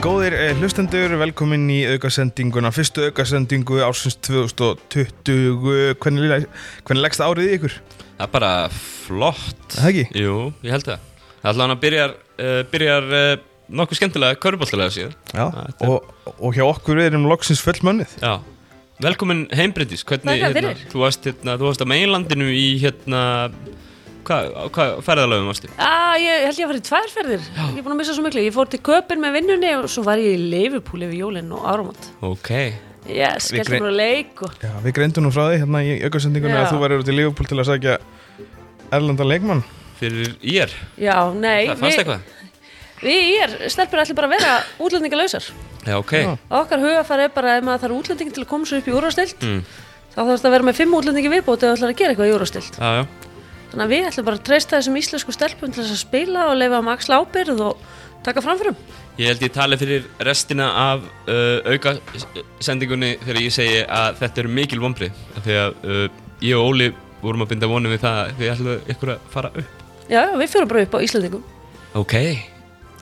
Góðir eh, hlustendur, velkomin í aukasendinguna, fyrstu aukasendingu ársins 2020, hvernig, líla- hvernig leggst árið í ykkur? Það er bara flott Er það ekki? Jú, ég held það Það allan að byrjar, uh, byrjar uh, nokkuð skemmtilega köruboltilega síðan Já, Ah, þetta er- og, og hjá okkur erum loksins fullmönnið. Já Velkomin heimbreytis Hvernig, Þakka hérna, fyrir. þú varst hérna, þú varst á meginlandinu í hérna Hvað, á hvað ferðalöfum varstu? Ah, ég held ég að fara í tvær ferðir Ég er búin að missa svo miklu Ég fór til Köpinn með vinnunni og svo var ég í Leifupúl yfir jólinn og áramót Ok Ég Við skellti grein- mér að leik og... Já, við greindum nú frá því hérna í aukasendingunni Já. að þú verður út í Liverpool til að sækja erlenda leikmann. Fyrir ég Já, nei Það fannst við, eitthvað? við í er stelpur allir bara að vera útlendingalausar Já, ok Já, Okkar hugafar er bara ef maður þarf útlending til að koma svo upp í úrvastild þá þarfst að vera með fimm útlendingi viðbóti ef þú ætlar að gera eitthvað í úrvastild já Þannig að við ætlum bara að treysta þessum íslensku stelpum til þess að spila og leifa um axla ábyrð og taka framförum Ég held ég tali fyrir restina af uh, aukasendingunni þegar ég segi að þetta eru mikil vombri því að uh, ég og Óli vorum að binda vonum við það því að ætlaðu ykkur að fara upp Já, já, við fjörum bara upp á Íslendingum Ok Já,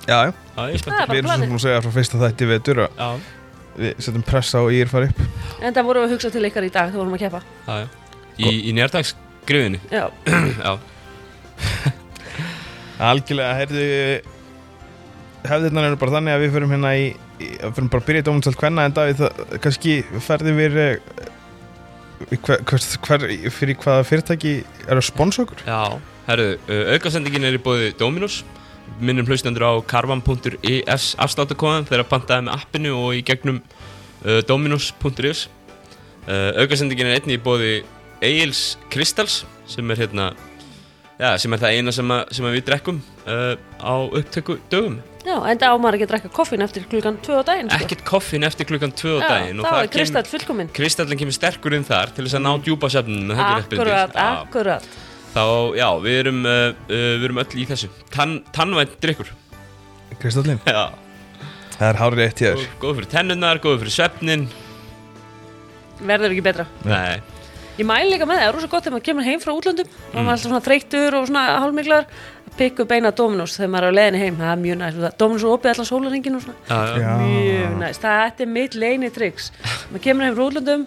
Já, já, ég er Það spennt við er bara erum sem planið búin að segja frá fyrsta þætti við vettur að Já, við setjum pressa og ég er farið upp. En það vorum við að hugsa til ykkar í dag þegar vorum að keppa já, já Í, í nérdagsgriðinu Já, Já, Algjörlega, heyrðu hefðirnar eru bara þannig að við förum hérna í, í að förum bara að byrja í dómundsalt hvenna en Davíð, það, kannski ferði við eh, í hver, hver, hver, fyrir hvaða fyrirtæki eru að sponsa okkur já Herru, uh, aukasendingin er í bóði Dominos minnum hlustendur á karvan.is afsláttakóðan þegar pantaði með appinu og í gegnum uh, dominos.is uh, aukasendingin er einnig í bóði Eils Kristals sem er hérna Já, sem er það eina sem, að, sem að við drekkum uh, á upptöku dögum já enda á maður ekki að drekka koffin eftir klukkan 2 á daginn sko. Ekkert koffin eftir klukkan 2 á Já, daginn og Þá það er kristall fullkominn Kristallin kemur sterkur inn þar til þess að ná djúpa sefninu það ekki rétt, Akkurat, Bryndís? Já. akkurat Þá, já, við erum, uh, uh, við erum öll í þessu Tann, Tannvænt drikkur Kristallin, Já, það er hárið eitt hér góð, góð fyrir tennunar, góð fyrir svefnin Verður ekki betra Nei, Ég mæli líka með það, það er rosa gott þegar maður kemur heim frá útlöndum og Mm. maður er alltaf svona þreyttur og svona hálmiklar að pikka upp eina Dominus þegar maður er á leiðinni heim það er mjög næst, Dominus er opið allan sólaringin og svona já, já. Já. mjög næst, það er mitt leini triks maður kemur heim frá útlöndum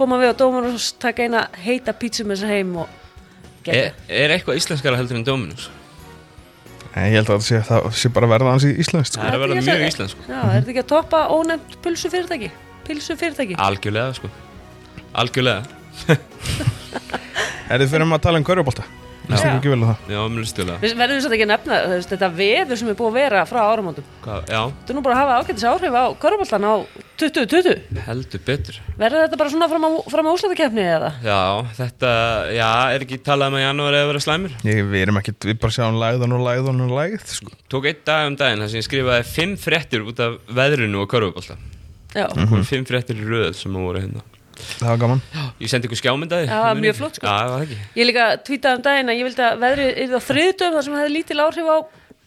koma við á Dominus, taka eina heita pítsu með sér heim og Er, geta er eitthvað íslenskara heldur en Dominus? Nei, Ég held að það sé, það sé bara að verða sko. hans í Íslands Það er að vera mjög sko. íslensk Já, er þetta ekki að toppa ónefnt pulsu fyrirtæki? Pilsu fyrirtæki? Algjörlega, sko Algjörlega Er þið fyrir maður að tala um körjubólta? Það Já. er ekki vel á það Já, mjög stjóðlega Við verðum svolítið ekki að nefna þú veist, þetta veður sem er búið að vera frá áramótum. Já, Þetta er nú bara að hafa ágætis áhrif á köruboltan á 2020. heldur betur Verður þetta bara svona fram á, fram á úslæðakefni eða? Já, þetta, já, er ekki talað um að janúar eða vera slæmur Ég, Við erum ekki, við bara sjáum læðan og læðan og læð sko. Tók einn dag um daginn þar sem ég skrifaði fimm fréttir út af veðrinu og körfubólta Já. Það voru fimm fréttir í röðel sem voru hérna Það var gaman Ég sendi ykkur skjámyndaði Já, það var mjög flott, sko. Já, það var það ekki Ég líka tvítið um daginn að ég vildi að veðrið yrði á þriðutum þar sem hefði lítil áhrif á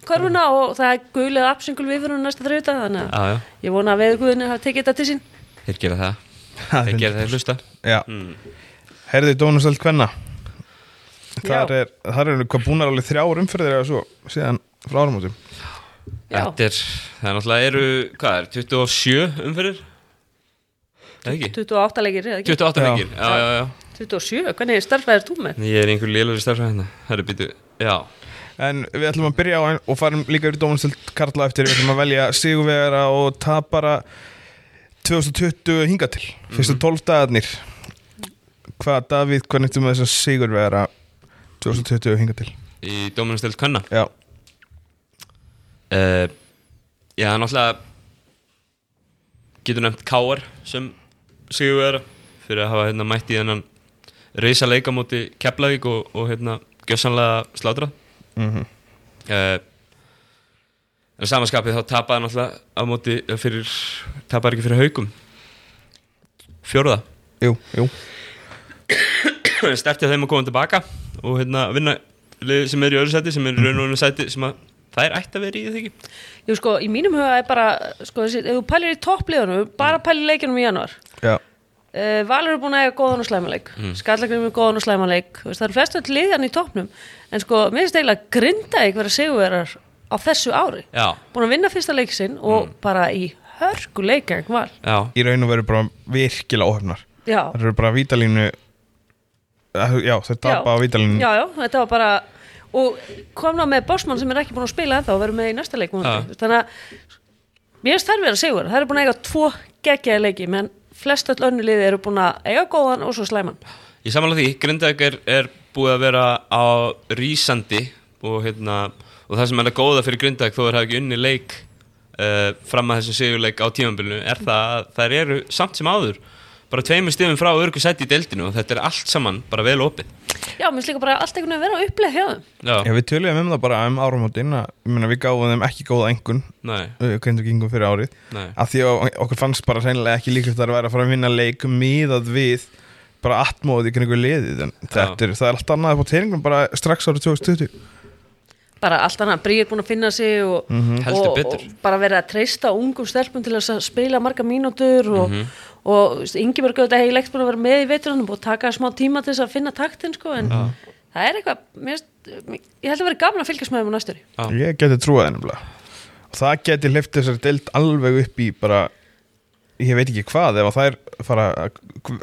körfuna Mm. og það er gulið absengul viðfyrir næsta þriðutum þannig Já, já, að ég vona að veðurguðinni hafi tekið þetta til sín. þeir gera það Það Þeir finnst- gera það, hlusta Já Herði Dónusöld Kvenna Þar Já. er, þar eru hvað búnar alveg þrjár umferðir eða svo síðan frá áramótum Já. Þetta er, það er náttúrulega eru, hvað er, 27 umferðir? Það ekki? 28 leikir, eða ekki? 28 Já. leikir, já, já, já 27, hvernig starfæðir þú með? Ég er einhver lélari starfra hérna Herru, býtu, já En við ætlum að byrja á en- og farum líka yfir Dónusöld Karla eftir Við ætlum að velja sigurvegara og tapara 2020 hinga til Fyrstu 12 dagarnir Hvað Davíð, hvernig ættum við þess að sigurvegara 2020 hinga til Í Dóminastelt Kanna Já, uh, Já, náttúrulega Getur nefnt Káar sem sigur vera Fyrir að hafa hérna mætt í þennan Reisa leika móti Keflavík og, og hérna Gjössanlega slátrað mm uh, en samanskapið þá tapaði náttúrulega á móti eh, fyrir, tapaði ekki fyrir haukum fjórða jú, jú stertið þeim að koma tilbaka og hérna vinna liðið sem er í öðru sæti sem er í raun og raun sæti sem að það er ætti að vera í þetta ekki Jú sko, í mínum huga er bara sko, þessi, ef þú pælir í toppliðunum, bara pælir í leikinum í januar Já, uh, Valur er búin að eiga góðan og slæmanleik mm. Skallagrim er góðan og slæmanleik Þú veist, það er flestu liðan í toppnum en sko, mér finnst eiginlega grinda ykkur að sigurverar á þessu ári Já, búin að vinna fyrsta leiksinn og bara í hörku leikgang val já, í raun og veru bara virkilega óhefnar já, það eru bara vítalínu já, þau tapa á vítalínu já, já, þetta var bara og komna með Bosman sem er ekki búin að spila ennþá og verður með í næsta leik vonandi. þannig að mér finnst þær verið að segja það eru búin að eiga tvo geggjaði leiki menn flest öll önnu liði eru búin að eiga góðan og svo slæman Ég samanlega því, Grindavík er, er búið að vera á rísandi og, hérna, og það sem er að góða fyrir Grindavík þó er það ekki unni leik uh, fram að þessum sigurleik á tímambilinu er það að þær eru samt sem áður bara tveimur stifum frá örgu sæti í deildinu og þetta er allt saman bara vel opið já, mér finnst líka bara allt einhvern veginn vera að upplega hjá þeim Já, Já, við töluðum um það bara um áramótin að ég meina, við gáðum þeim ekki góða engun nei, grindu gengum fyrir árið Nei. af því að okkur fannst bara reynilega ekki líklegt að það væri að fara að vinna leik miðað við bara atmóðið í kringu liðið en þetta er, það er allt annað upp á teiringum bara strax árið 2020 bara allt annað, Brí er búin að finna sig og, Heldur og, betur. og bara verið að treysta ungum stelpum til að spila marga mínútur og, Mhm. mm -hmm. og Ingeborg auðvitað hefur leikt búin að vera með í veituranum og taka smá tíma til þess að finna taktin sko, en það er eitthvað mér, finnst- ég held að vera gaman að fylgjast með þeim á næstur Já. ég geti trúið það nefnilega og það geti hleyft þessari deild alveg upp í bara ég veit ekki hvað ef að þær fara að,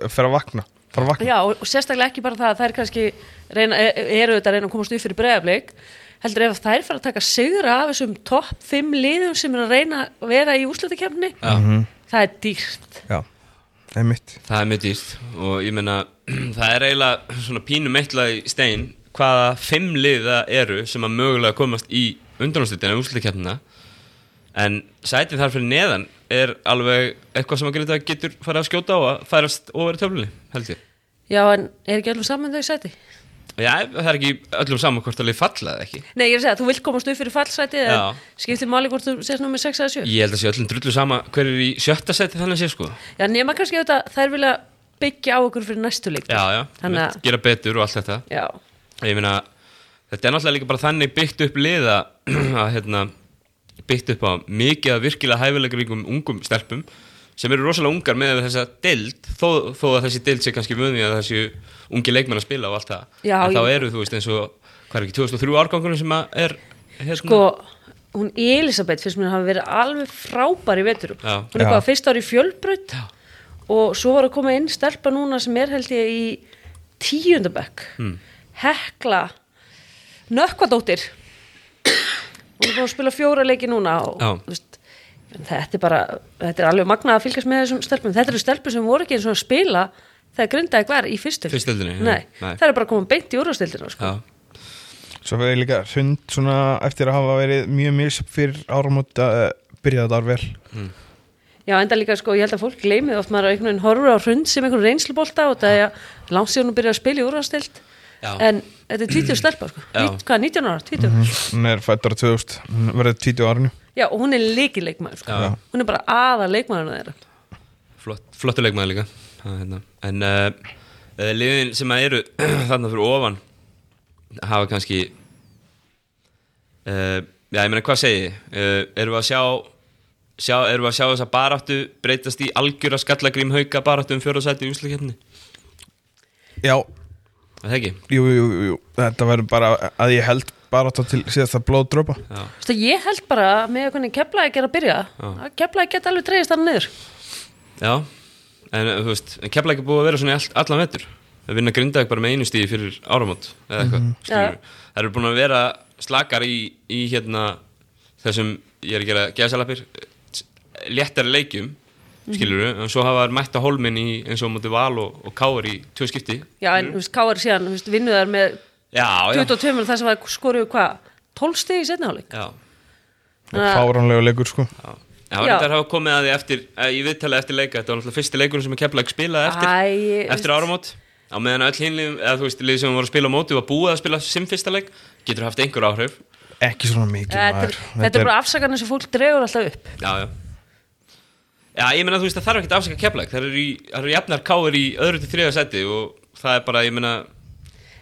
fara að vakna fara að vakna Já, og, og sérstaklega ekki bara það að þær kannski reyna, e- e- eru þetta að reyna að komast upp fyrir bregðarblik heldur ef þær fara að taka sigra af þessum topp 5 liðum sem er að reyna að vera í úrslutakefni Já. það er dýrt Já, einmitt það er mjög dýrt og ég meina það er eiginlega svona pínum eittlað í stein hvaða fimm lið það eru sem að mögulega komast í undanúrslitina úrslitakefnina en sætið þar fyrir neðan er alveg eitthvað sem að geta getur farið að skjóta á að færast ofar í töflunni held ég Já, en er ekki öllum saman þau sæti? Já, það er ekki öllum saman hvort að lið falla eða ekki Nei, ég er að segja að þú vilt komast upp fyrir fallsæti eða Já. skiptir máli hvort þú sést nummer 6 eða 7 Ég held að sé öllum drullu sama hver er í sjötta seti þannig sé sko Já, nema kannski auðvitað þær vilja byggja á okkur fyrir næstu líkt Já, já, Þannig að, gera betur og allt þetta já, ég meina, þetta er náttúrulega líka bara þannig byggt upp liða að hérna, byggt upp á mikið að virkilega hæfileikaríkum ungum stelpum sem eru rosalega ungar með þessa deild þó, þó að þessi deild sé kannski vöðni að þessi ungi leikmenn að spila og allt það Já, en þá ég- eru þú veist eins og hvað er ekki 2003 árgangunum sem að er hérna, sko hún Elisabeth finnst mér að hafa verið alveg frábær í vetur Já. hún er Já. hvað fyrst ári í fjölbraut og svo var að koma inn stelpa núna sem er held ég í tíundabökk Hmm. mm. Hekla Nökkvadóttir hún er búin að spila fjóra leiki núna og Já. þú veist en þetta er bara, þetta er alveg magnað að fylgjast með þessum stelpum, þetta eru stelpur sem voru ekki eins og að spila þegar grindaði hver í fyrstu Fyrstu deildinni, já. nei, Nei. það er bara komið beint í úrvastildina sko. já, Svo verður líka sund svona eftir að hafa verið mjög mjög fyrir áramót að uh, byrja þetta ár vel Já, enda líka sko, ég held að fólk gleymið oft maður einhvern veginn horfur á hrund sem einhvern reynslubolta og það er að langt síðan hún byrja að spila í úrvastild Já. en þetta er 20 stelpa sko. Já. Mhm. Nít, hvað, 19 ára, 20 Hún er fættur á 2000, hún verður 20 árinu Já, og hún er leikileikmaður sko. Já. hún er bara aða leikmaðurna þeirra flott, flottu leikmaður líka Það er hérna. en uh, uh, liðin sem að eru þarna fyrir ofan hafa kannski uh, já ég meina hvað segi ég? uh, erum við að sjá, sjá erum við að sjá þessa baráttu breytast í algjöra skallagrím hauka baráttu um fjóraðsæti í úslakefni Já, það ekki jú, jú, jú, jú. þetta verður bara að ég held bara þetta til síðast að blóð dropa já, Þú veist að ég held bara að með einhvern veginn keflaði að gera að byrja að keflaði geta alveg dreigist þarna niður já. en uh, þú veist en kemla ekki búið að vera svona í all, allan vetur að vinna grindaðið bara með einu stíði fyrir áramót eða eitthvað skilurðu. Mhm. Já. það eru búin að vera slakar í, í hérna þessum, ég er að gera geðsalapir léttari leikjum Mhm. skilur við, en svo hafa þær mætt að holmin í eins og mútið val og, og káur í tvö skipti Já, en þú veist, Káar síðan, þú veist, vinnuðar með Mhm. já, já, 22 minn þar sem var skoruðu hvað 12 stig í setni hálfleik já. Þannig að- Fáránlega leikur sko Já, Já. já. það hafa komið að því eftir, eh, í viðtalið eftir leika, þetta var náttúrulega fyrsti leikurinn sem að Keflæk spilaði eftir, Æ, ég- eftir áramót á meðan öll hinlið, eða þú veist, lið sem voru að spila á móti var búið að spila sem fyrsta leik getur haft einhver áhrif Ekki svona mikið Þetta er- maður. þetta er bara afsakarnir sem fólk dregur alltaf upp Já, já Já, ég meina þú veist það þarf ekkert að afsaka keflæk Það eru, í, það eru jafnar káir í öðru til þriða seti og það er bara, ég meina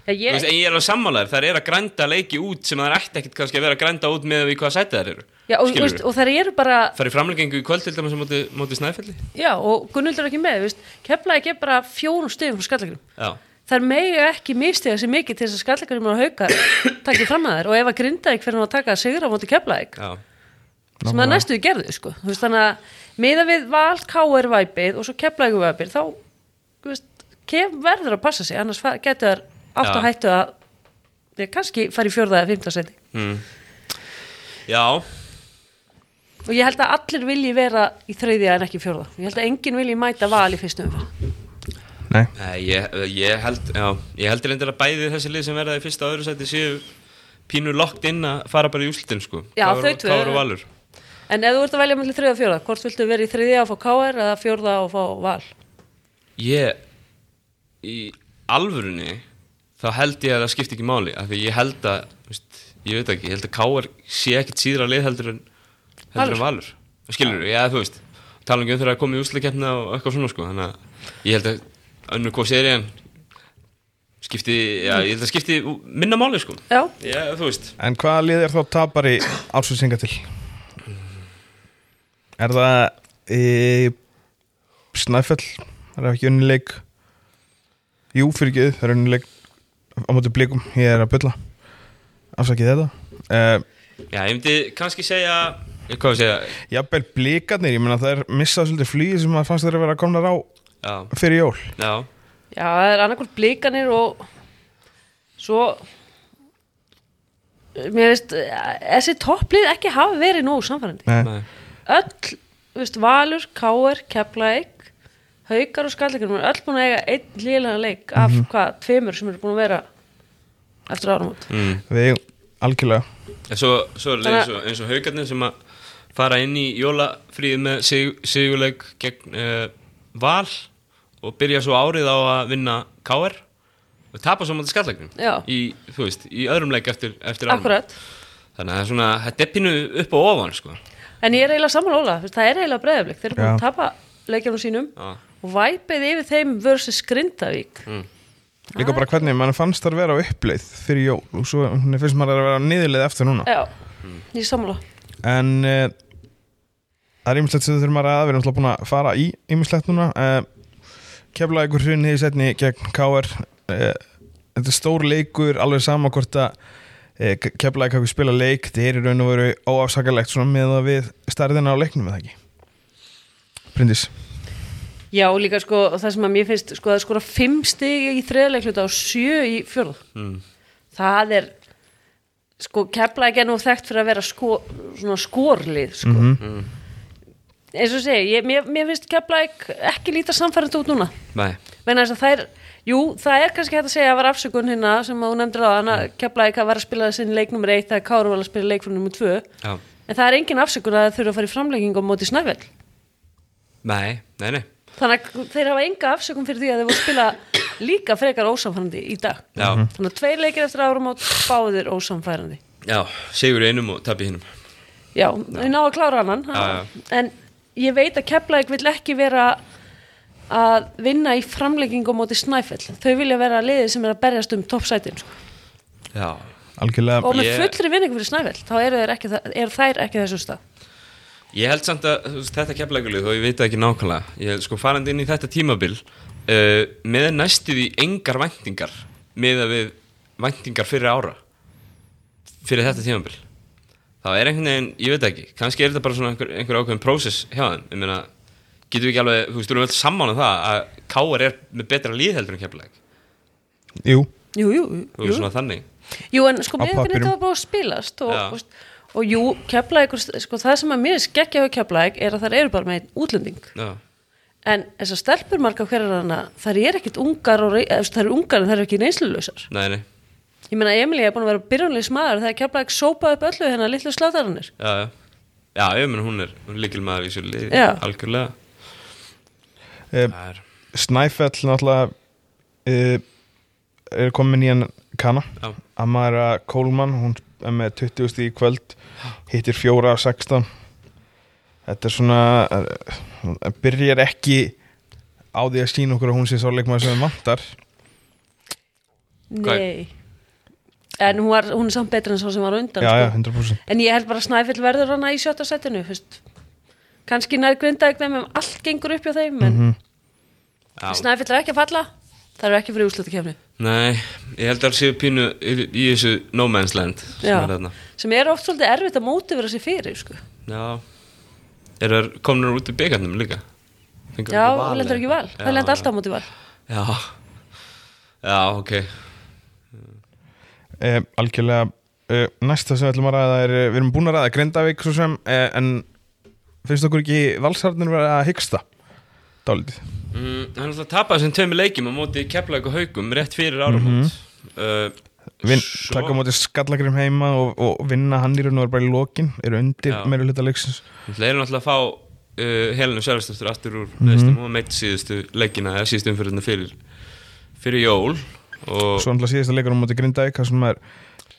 Já, þú ég, veist, En ég er alveg sammálaður, það er að grænda leiki út sem það er ekkert ekkert kannski að vera að grænda út með við hvaða seti þær eru Já, og, Skilurðu? veist, og þær eru bara Það er í framlengingu í kvöld til dæmis á móti, móti snæfelli já, og Gunnhildur er ekki með, veist, keflaði ekki bara fjórum stöðum frá skallakrum Já, þær megi ekki mistega sér mikið til þess að skallakarimur og haukar takki fram að þær og ef að grinda fyrir að taka sigra á móti keflaðik já, sem það næstu gerðu sko þú veist þannig að miða við val káir væpið og svo keflaðik væpið þá þú veist, kef verður að passa sig annars fa- gætu þær átt Já. að hættu að ég, kannski fara í fjórða eða fimmta seti já, og ég held að allir vilji vera í þriðja en ekki í fjórða ég held að enginn vilji mæta val í fyrstu umfyrir Nei, Nei, ég, eh, ég held já, ég held reyndar að bæði þessi lið sem verða í fyrsta og öðru sæti séu pínur lokt inn að fara bara í úslitin sko Já, Káur- þau tvö. Káur og Valur En ef þú ert að velja mellum þriða og fjórða, hvort viltu vera í þriðja og fá KR eða fjórða og fá val? Ég, í alvörunni þá held ég að það skipti ekki máli af því ég held að, þú veist, ég veit ekki ég held að Káar sé ekkit síðra lið heldur en heldur en Valur skilur þú, já þú veist tala ekki um þegar að koma í úsliðkeppna og eitthvað svona sko þannig að ég held að önnur hvað séri en skipti, já ég held að skipti minna máli sko Já, já þú veist en hvaða lið er þá tapari ásvöldsynga til? Er það e, Snæfell? Er það ekki unnileik? Jú, fyrir ekki, það er unnileik á móti blikum, ég er að bylla afsakið þetta e, Já, ég myndi kannski segja Ég hvað að segja Jafnvel blikarnir, ég meina það er missað svolítið flýið sem maður fannst þeirra að vera komnar á Já, fyrir jól já, já, það er annarkvort blíkanir og svo mér veist, eh, þessi topplið ekki hafa verið nógu samfærandi. Nei. nei, Öll, þú veist, Valur, KR, Keflæk, Haukar og Skallakirnum er öll búin að eiga einn líðlega leik af hvað, tveimur sem eru búin að vera eftir áramót. mm. Við eigum algjörlega En svo, svo er það eins og, eins og haugarnir sem að fara inn í jólafríð með sig, sigurleik gegn uh, val og byrja svo árið á að vinna KR og tapa svo mæti skalllegnum Já. í, þú veist, í öðrum leik eftir, eftir árum. Akkurat. Þannig að það er svona, þetta er pínu upp og ofan sko. En ég er eiginlega sammála Óla, þú veist, það er eiginlega breyðablik þeir eru búin Já. að tapa leikjanum sínum Já, og væpið yfir þeim versus Grindavík Líka bara hvernig mann fannst þar vera á uppleið fyrir jól og svo hún finnst maður að vera á niðurleið eftir núna Já, ég er sammála En eh, það er ýmislegt sem við þurfum að ræða Við erum alltaf búin að fara í ýmislegt núna uh, Keflaði ykkur hrunni í setni gegn KR uh, Þetta er stór leikur alveg sama hvort að uh, Keflaði ykkur spila leik Þetta er í raun og veru óafsakalegt svona með að við stærðina á leiknum eða ekki Bryndis Já, og líka sko, það sem að mér finnst sko, það er skora fimm stig í þriðleikluta og sjö í fjörð Mm. það er sko, Keflæk er nú þekkt fyrir að vera sko, svona skorlið sko. eins og ég segi, ég, mér, mér finnst Keflæk ekki líta samfærandi út núna nei, menna þess að það er, jú, það er kannski hægt að segja að var afsökun hérna sem að þú nefndir á hana, Keflæk að var að spila sinn leik nummer eitt, að Káru var að spila leik nummer tvö já, en það er engin afsökun að það þurfa að fara í framlegging á móti snæfell nei, nei, nei. þannig að þeir hafa enga afsökun fyrir því að þeir voru að spila líka frekar ósamfærandi í dag Já, þannig að tveir leikir eftir áramót báðir ósamfærandi já, sigur í einum og tap í hinnum. já, við náum að klára annan Já, en ég veit að Keflæk vill ekki vera að vinna í framlegging á móti snæfell þau vilja vera liðið sem er að berjast um toppsætin sko. Já, Algjörlega og með Ég- fullri vinningu fyrir snæfell þá eru þær ekki, þa- eru þær ekki þessu stað Ég held samt að þú veist, þetta keflækulið og ég veit það ekki nákvæmlega ég held sko farandi inn í þetta tímabil uh, með næstu því engar væntingar með að við væntingar fyrir ára fyrir þetta tímabil þá er einhvern veginn, ég veit ekki kannski er þetta bara svona einhver, einhver ákveðin prósess hjá þeim ég meina, getum við ekki alveg þú veist, við erum alltaf sammála um það að Káar er með betra líð heldur en keflæk Jú, jú, jú, þú veist jú. svona þannig Jú, en sko, Á miðingarnir pappírum. það var bara að spilast og, Já. og, og jú, keflaðið, sko, það sem að mér skekkja á keflaðið er að það eru bara með einn útlending. Já, En þessar stelpur marga hverjar hana, það eru ekkit ungar og, rey- eða, þú veist, það eru ungar en það eru ekki reynslulausar. nei, nei, Ég meina, Emilía er búin að vera byrjunlega smaður þegar keflaðið sópaði upp öllu hennar litlu slátaranir. já, já Já, ég meina hún er, hún er líkil maður í sér liði, Já. algjörlega Eh, Það er, Snæfell náttúrulega uh, er komin í hann kana já, Amara Kólmann, hún er með 20 stíð í kvöld hittir 4 af 16 þetta er svona eh, hún byrjar ekki á því að sína okkur að hún sé svo leikmaður sem við vantar Hvað- Nei. En hún, var, hún er samt betur en svo sem var á undan. já, já, sko. 100% En ég held bara að Snæfell verður hana í sjötta setinu, fyrst. Kanski nær grindaðið þeim ef allt gengur upp hjá þeim, en já. Snæfell er ekki að falla það eru ekki fyrir úslutakefni Nei, ég held að það séu pínu í, í þessu no man's land sem Já. er þarna. sem er oft svolítið erfitt að mótivera sér fyrir sko. Já, er það komnur út í byggarnum líka? Fengur já, það lendur ekki val, það lendur alltaf á móti val Já, já, ok eh, algjörlega eh, næsta sem við ætlum að ræða er eh, við erum búin að ræða Grindavík svo sem eh, en finnst okkur ekki valsarnir vera að hyggsta dálítið Mm, hann ætlaði að tapa þessum tveimur leikjum á móti keflaðið og haugum rétt fyrir áramót uh, Mhm. Vin, svo- taka á móti skallakrim heima og, og vinna hann í raun og vera bara í lokin eru undir Já. meira hluta leiksins Það eru náttúrulega að fá uh, Helenu Sjálfsdóttur aftur úr Mhm. meðstum og meitt síðustu leikina eða síðustu umfyrirna fyrir, fyrir jól og svo náttúrulega síðasta leikur á móti Grindavík þar sem er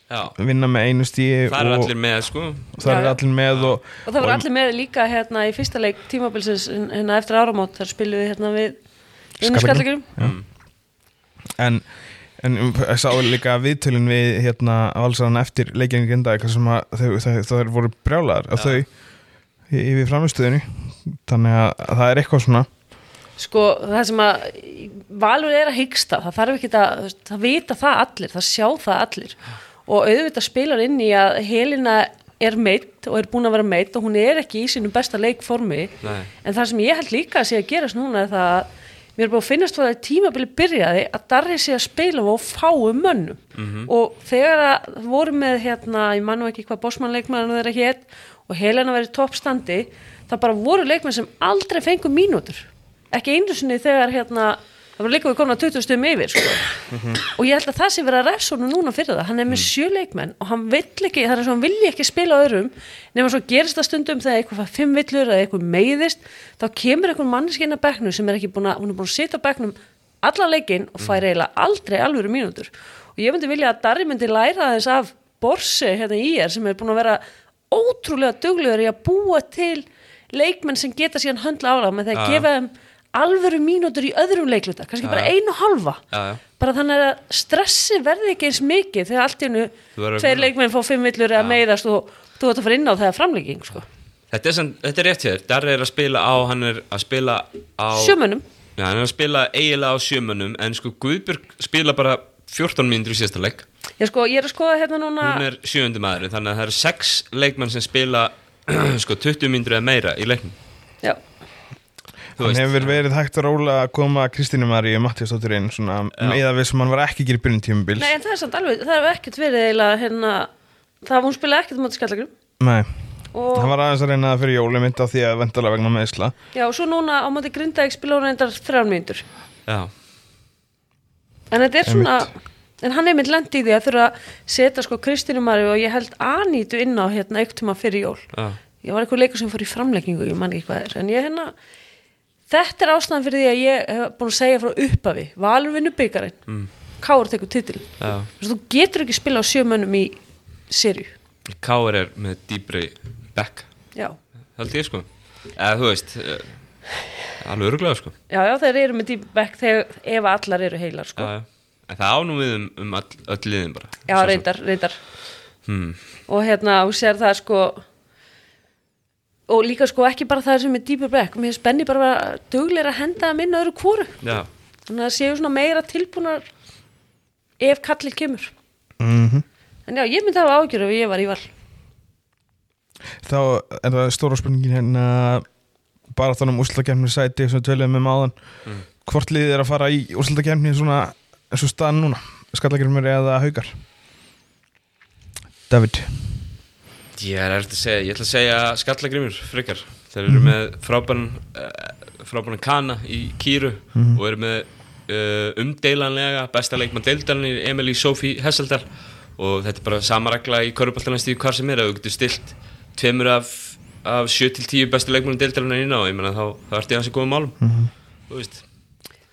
já, vinna með einu stíi það eru og allir með sko það Já, er já. allir með og, og það voru allir með líka hérna í fyrsta leik tímabilsins hérna eftir áramót þar spilum við hérna við inn í Skallagrim. skallagjörum en, en um, ég sá líka viðtölin við hérna valsarann eftir leikinu Grindavík þar sem að þau, þau, þau, þau voru brjálaðar að þau í- yfir framistuðinu þannig að að það er eitthvað svona sko það sem að valur er að hyggsta, það þarf ekki að þú veist, það vita það allir, það sjá það allir og auðvitað spilar inn í að Helena er meitt og er búin að vera meitt og hún er ekki í sínum besta leikformi Nei. en það sem ég held líka að sé að gerast núna er það að mér er búin að finnast það að tímabili byrjaði að Darri sé að spila á fáum mönnum og þegar að voru með hérna, ég mann nú ekki hvað bósmannleikmann þeirra hétt og Helena verið toppstandi það bara voru leikmenn sem aldrei fengu mínútur ekki einu sinni þegar hérna það voru líka við komin að 20 stum yfir sko. og ég held að það sé verið að refsónu núna fyrir það hann er með sjö leikmenn og hann vill ekki það er svo hann vilji ekki spila á öðrum nema svo gerist það stundum þegar eitthvað fær fimm villur eða eitthvað meiðist, þá kemur einhver manneskinn að bekknum sem er ekki búin að hún er búin að sitja á bekknum alla leikinn og fær eiginlega aldrei alvöru mínútur og ég myndi vilja að Darri myndi læra þess af Borsi hérna í er sem er búin að vera ótrúlega duglegur í að búa til leikmenn sem geta síðan höndla álag með því að Já, já. gefa þeim alvöru mínútur í öðrum leikluta kannski bara einu og halva Já, já. bara þannig að stressi verði ekki eins mikið þegar allt í hennu Þú verður að tveir vinna. leikmenn fá fimm villur eða meiðast og þú ert að fara inn á þegar framlegging sko. þetta er, sem, þetta er rétt hér, Darri er að spila á hann er að spila á sjömunum já, hann er að spila eiginlega á sjömönum en sko Guðbjörg spila bara 14 mínútur í sérsta leik ég, sko, ég er að skoða hérna núna hún er sjöundi maðurinn þannig að það eru sex leikmenn sem spila sko 20 mínútur eða meira í leiknum já, Þú hann veist. hefur verið hægt að róla að koma Kristínu Maríu Mattíasdóttir inn svona með að við sem hann var ekki að gera í byrjun tímubils nei en það er samt alveg það er ekkert verið eiginlega hérna það hún spila ekkert á móti skallagrum Nei, Og- hann var aðeins að reyna það fyrir jóli mynd á því að vendala vegna meðsla já og svo núna á móti grindaðið spila hún reyndar þrjár mínútur já En þetta er svona En hann er mynd lendi í því að þurfa að setja sko Kristínu Maríu og ég held Anítu inn á hérna eitt tíma fyrir jól Já. Ég var eitthvað leikur sem fór í framleggingu ég man ekki hvað er, en ég hérna Þetta er ástæðan fyrir því að ég hef búin að segja frá uppafi, Valur vinnur byggarinn mm. Káur tekur titil Já. Þú getur ekki spila á sjö mönnum í serju, Káur er með dýbri back já held ég sko eða þú veist eh, alveg öruglega sko Já, já, þeir eru með deep back þegar, ef allar eru heilar sko. Já, já. en það ánum við um, um all, öll liðin bara Já, Svo sem- reyndar, reyndar hmm. og hérna, hún sér það sko og líka sko ekki bara það sem er deeper back, mér finnst Benni bara að vera duglegur að henda það minna öðru kóru já, þannig að það séu svona meira tilbúnar ef kallið kemur mm en já, ég myndi hafa ágjör ef ég var í val Þá er það stóra spurningin hérna bara þannig um úrslutakefni sæti sem við töluðum um áðan Hvort liðið er að fara í úrslutakefni svona eins og staðan núna Skallagrimur eða Haukar David ég er eftir að segja ég ætla að segja skallagrimur frekar þeir eru með frábæran eh, frábæran kana í kýru og eru með uh, umdeilanlega besta leikmann deildarinn Emily Sophie Hesseldal og þetta er bara sama regla í körubaltanastíðu hvar sem er að þú getur stilt tveimur af, af 7-10 bestu leikmann deildarinn inn á, ég menna þá, þá ertu í hans í góðum málum þú veist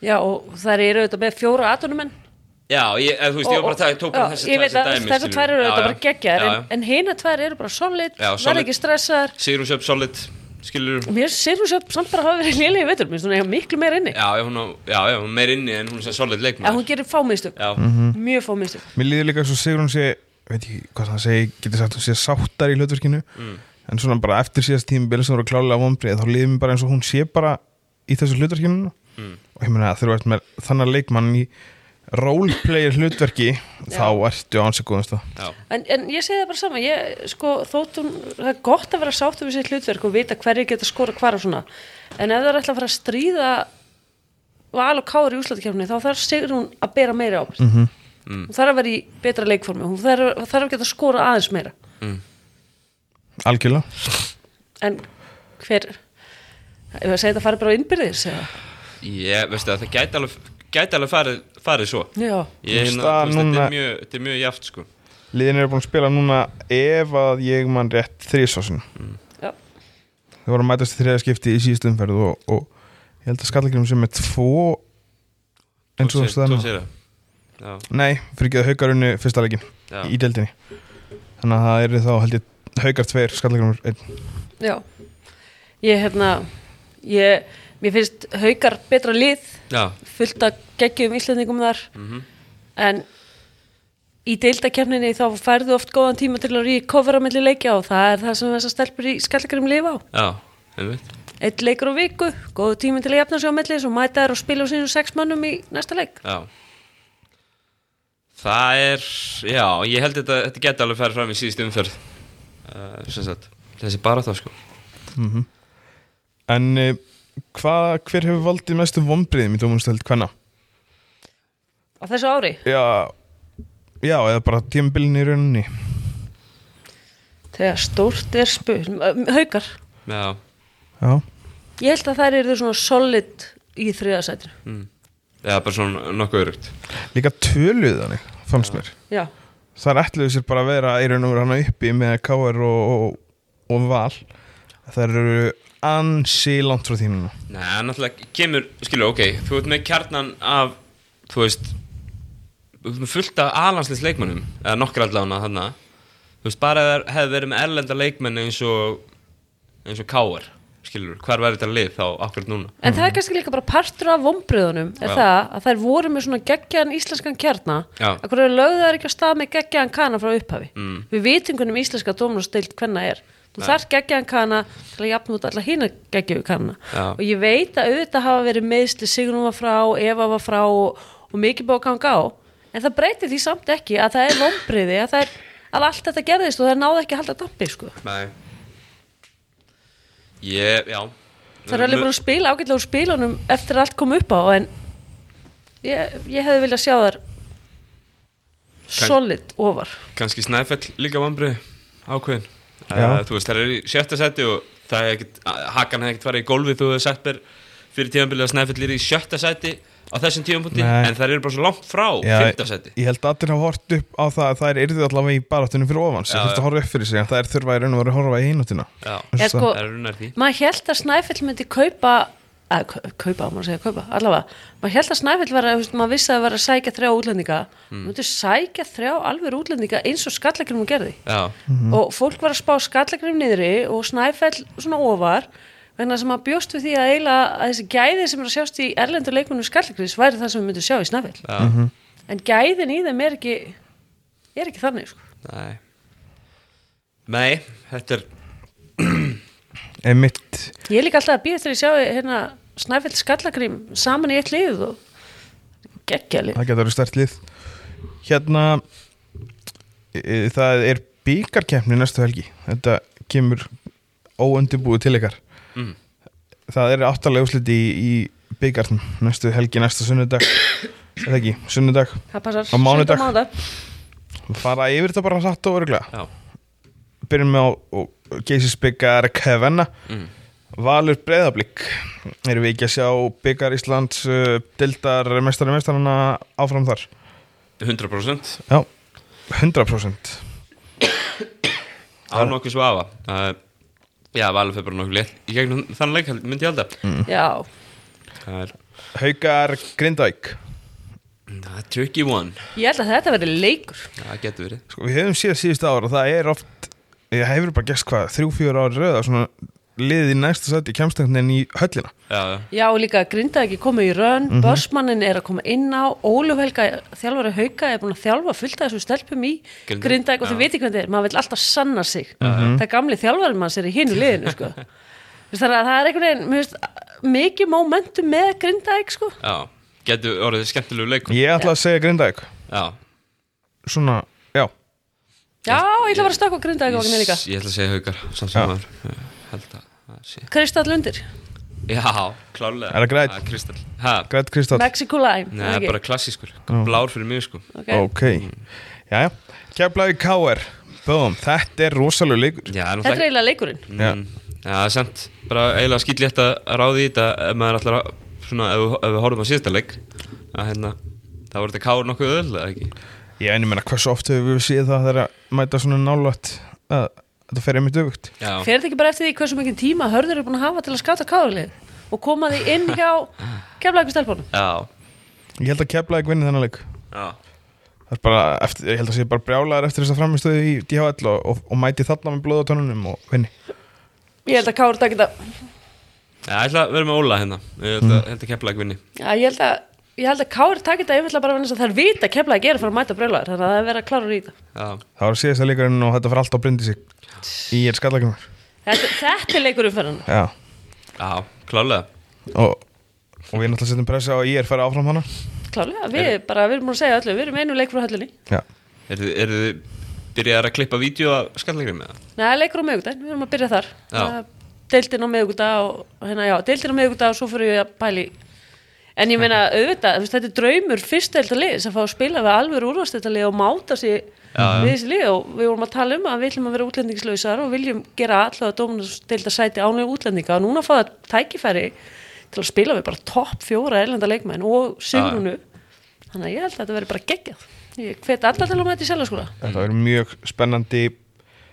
já, og það eru auðvitað með fjóra atonumenn Já, ég, eða, þú veist, ég var bara að taka- tók bara þessi ég tvær veit sem að dæmi þessar skilurðu. tvær eru Já, auðvitað já. bara geggjar Já, en, já. en hina tvær eru bara solid, Já, solid. verð ekki stressaðar Sigrún Sjöfn Solid, skilur og mér sérfum sér samt bara að hafa verið lélega í vetur mér finnst hún eiga miklu meira inni Já, já, hún, á, já, já, hún er meir inni en hún er sem solid en leikmaður hún gerir fámiðstök, Já, mjög fámiðstök Mér líður líka svo Sigrun sé veit ekki hvað það segi, getur sagt hún sé sáttar í hlutverkinu en svona bara eftir síðast tími sem voru klálega vonbrið þá líður mér bara eins og hún sé bara í þessu hlutverkinu núna. og ég meina þegar þú ert með þannig leikmann í roleplayer hlutverki þá ertu áns að góðast það Já, En, en ég segi það bara sama, ég, sko, þótt hún, það er gott að vera sáttu við sitt hlutverk og vita hverju geta skora hvar og svona. En ef það er ætla að fara að stríða val og kári í úslættikefni, þá þarf sigur hún að bera meira ábyrg. Mm -hmm. Hún þarf að vera í betra leikformi, hún þarf, þarf að geta skora aðeins meira. algjörlega En hver, ef ég segi það fari bara á innbyrðis, eða? ég veistu að það gæti alveg, gæti alveg farið, farið svo Já, Ég, Þú veist hérna, að þú veist, þetta núna- er mjög, þetta er mjög jaft sko liðin eru búin að spila núna ef að ég mann rétt þrísvásin já, þau voru að mætast í þriða skipti í síðust umferð og, og ég held að skallakirjum sem er tvo eins og það það nei, fyrir ekki að haukarunni fyrsta leikin Já. í deildinni þannig að það eru þá held ég haukar tveir skallakirjum einn já. Ég, hérna, ég, mér finnst haukar betra lið Já, fullt að geggjum íslendingum þar en í deildakefninni þá færðu oft góðan tíma til að ríkofra melli leikja og það er það sem þessar stelpur í skallakarum lifa á já, einmitt eitt leikur á viku, góðu tíma til að jafna sig á melli svo mæta þær og spila á sínum sex mannum í næsta leik Já Það er, já, ég held þetta, þetta geti alveg farið fram í síðust umferð uh, sem sagt, þessi bara þá sko en eh, hvað, hver hefur valdið mestu vonbriðum í dómunstæld hvenna? á þessu ári, Já, já, eða bara tímabilin í rauninni þegar stórt er spil haukar, Já, Já, ég held að þær eru svona solid í þriðasætinu eða bara svona nokkuð örugt líka töluð þannig, fannst mér já, Það er ætluðu sér bara að vera í raun og vera hana uppi með KR og, og, og Val Það eru ansi langt frá þínu núna. Nei, það náttúrulega kemur, skilur, ok Þú ert með kjarnan af, þú veist Þú ert með fullt af alhanslis leikmönnum Eða nokkur allavega þarna Þú veist, bara ef þær hefði verið með erlenda leikmenn eins og eins og káar, skilur, hvar var þetta lið þá akkurat núna En það er kannski líka bara partur af vombriðunum er Mhm. Já. það að þær voru með svona geggjaðan íslenskan kjarna Já. að hverju lögðu þær ekki á stað með geggjaðan kana frá upphafi mm. við vitingunum íslenska dómnasteilt hvenna er þú þarf geggjaðan kana til að jafna út alla hína geggjöfu kana Já. og ég veit að auðvitað hafa verið meðsli Sigrun var frá, Eva var frá og, og mikið búið að ganga á en það breytir því samt ekki að það er vombriði að, það er, að allt þetta gerðist og það náði ekki að halda dampi sko. Nei Ég, já Það er alveg búin að spila ágætlega úr spilunum eftir að allt kom upp á en ég, ég hefði viljað sjá þar solid ofar Kanski Snæfell líka vambrið ákveðin Já. uh, Þú veist, það er í sjötta seti og það er ekkit, Hakan hefði ekkert farið í gólfið þú hefði sagt mér fyrir tíðanbilið að Snæfell er í sjötta seti á þessum tíðanbúndi Nei. en það eru bara svo langt frá Já, fymta seti Ég held að allir hafa hort upp á það að það er yrðið allavega í baráttunum fyrir ofan Já, sem þurft já. að horfa upp fyrir sig en það er þurfa í raun og vera að horfa í eináttina Já, Er Svo- sko- það eru nær því Maður held að Snæfell myndi kaupa að, kau- kaupa, á maður að segja kaupa, allavega maður held að Snæfell var að, þú veist, maður vissi að það var að sækja þrjá útlendinga mm. myndi sækja þrjá alveg útlendinga eins og skallakrimum gerði Já, Mhm. og fólk var að spá skallakrim niðri og Snæfell svona ofar vegna sem maður bjóst við því að eiginlega að þessi gæði sem er að sjást í erlendur leikunum skallakrims væri það sem við myndum sjá í Snæfell já, Mhm. en gæðin í þeim er ekki er ekki þannig sko. nei Nei, þetta er En mitt, ég er líka alltaf að býja eftir að ég sjá hérna, Snæfell Skallagrím saman í eitt lið og geggjali það getur verið stert lið Hérna e, það er byggarkeppni næstu helgi Þetta kemur óundibúið til ykkar Mm. Það er áttalega úsliti í, í byggarn næstu helgi, næsta sunnudag eða ekki, sunnudag það passar Á mánudag. Sunnudag, mánudag. fara yfir þetta bara hratt og öruglega Já, byrjum með á geysisbyggar Kevenna mm, Valur breyðablík erum við ekki að sjá byggar Íslands uh, dildar mestari mestarana áfram þar 100% já, 100% án okkur svafa uh, Já, Valur fyrir bara nokkuð létt í gegnum þann leik, held- myndi ég halda Mm. Hmm. já, Það er, Haukar Grindavík það er tricky one ég held að þetta verði leikur Það getur verið sko, við hefum séð síðust ára og það er oft ég hefur bara gæst hvað, þrjú, fjör ára rauða svona liðið í næsta sæti kemstöngnin í höllina Já, já já, og líka grinda ekki komið í rönn Mhm. mm er að koma inn á Ólu Helga, þjálfari hauka er búin að þjálfa fullt af þessu stelpum í Grindavík, grinda og já. þau veit ekki hvernig þetta er, maður vil alltaf sanna Mhm. sig það gamli þjálfari manns er í hinu liðinu sko. Þú veist, þannig að það er einhvern veginn mér veist, mikið momentum með Grindavík sko. Já, getur orðið skemmtilegu leikur Ég ætla að segja Grindavík Já, Svona, já, Já, ég ætla að vera stökk á Grindavík ég, vagnin líka. ég ætla að segja haukar samt Já. sem maður Ég held að það sé Kristall undir, Já, klálega Er það grænn? Ah, Kristall Ha, Greit Kristall Mexico Lime Nei, ekki? bara klassískur Blár fyrir mig, sko okay. Ok, já, já Keflavík KR, búum, þetta er rosalega leikur Já, það er Þetta er náttúrulega eiginlega leikurinn Mm, Já, það er sant Bara eiginlega skýtlétt að ráði í þetta ef maður ætlar að svona, ef, við- ef við horfum á síðasta leik að hérna það voru þetta káur nokkuð öll eða ekki Ég enni meina hversu oft hefur við séð það þegar að mæta svona nálægt að þetta fer einmitt öfugt Já, Fer þetta ekki bara eftir því hversu mikið tíma hörður er búin að hafa til að skata káðurlið og koma því inn hjá keflavíku stelpunum já, Ég held að Keflavík vinni þennan leik já Það er bara, eftir, ég held að sé bara brjálaðar eftir þess að framistöðu í DHL og, og, og mæti þarna með blóð á tónunum og vinni Ég held að káður takk þetta Já, ég ætla að vera með Óla hérna Ég held að, mm. að kepla ekki vinni Já, ég held að Ég held að Kári takit það yfirlega bara vegna þess að það er vita að kefla að gera fyrir að mæta brjólaður þannig að það er verið að klára að rýta Já, Það var síðasta leikurinn og þetta fyrir alltaf að brindi sig í er skallakumar Þetta, þetta er leikur umferðan Já, já, klálega og, og við náttúrulega setjum pressi á að ég er færa áfram hana Klálega, við bara, við erum búin að segja öllu, við erum einu leikur á höllinni Já, Eru þið- eru þið byrjaðar að klippa vídeo af skallegri með það? Nei, leikur á miðugdag, við erum að byrja þar Já. Það- Deildin á miðugdag og, og hérna, já, deildin á miðugdag og svo fyrir ég að pæli En ég meina, auðvitað, þú veist, þetta er draumur fyrst deilda lið sem fá að spila við alveg úrvastelda lið og máta sér við þessi lið og við vorum að tala um að við ætlum að vera útlendingslausar og viljum gera allavega dómunastelda sæti ánlega útlendinga og núna fá það tækifæri til að spila við bara topp fjóra erlenda leikmenn og sigrunu þannig að ég held að þetta verði bara geggjað ég hvet alla til að mæta í selaskóla þetta verður mjög spennandi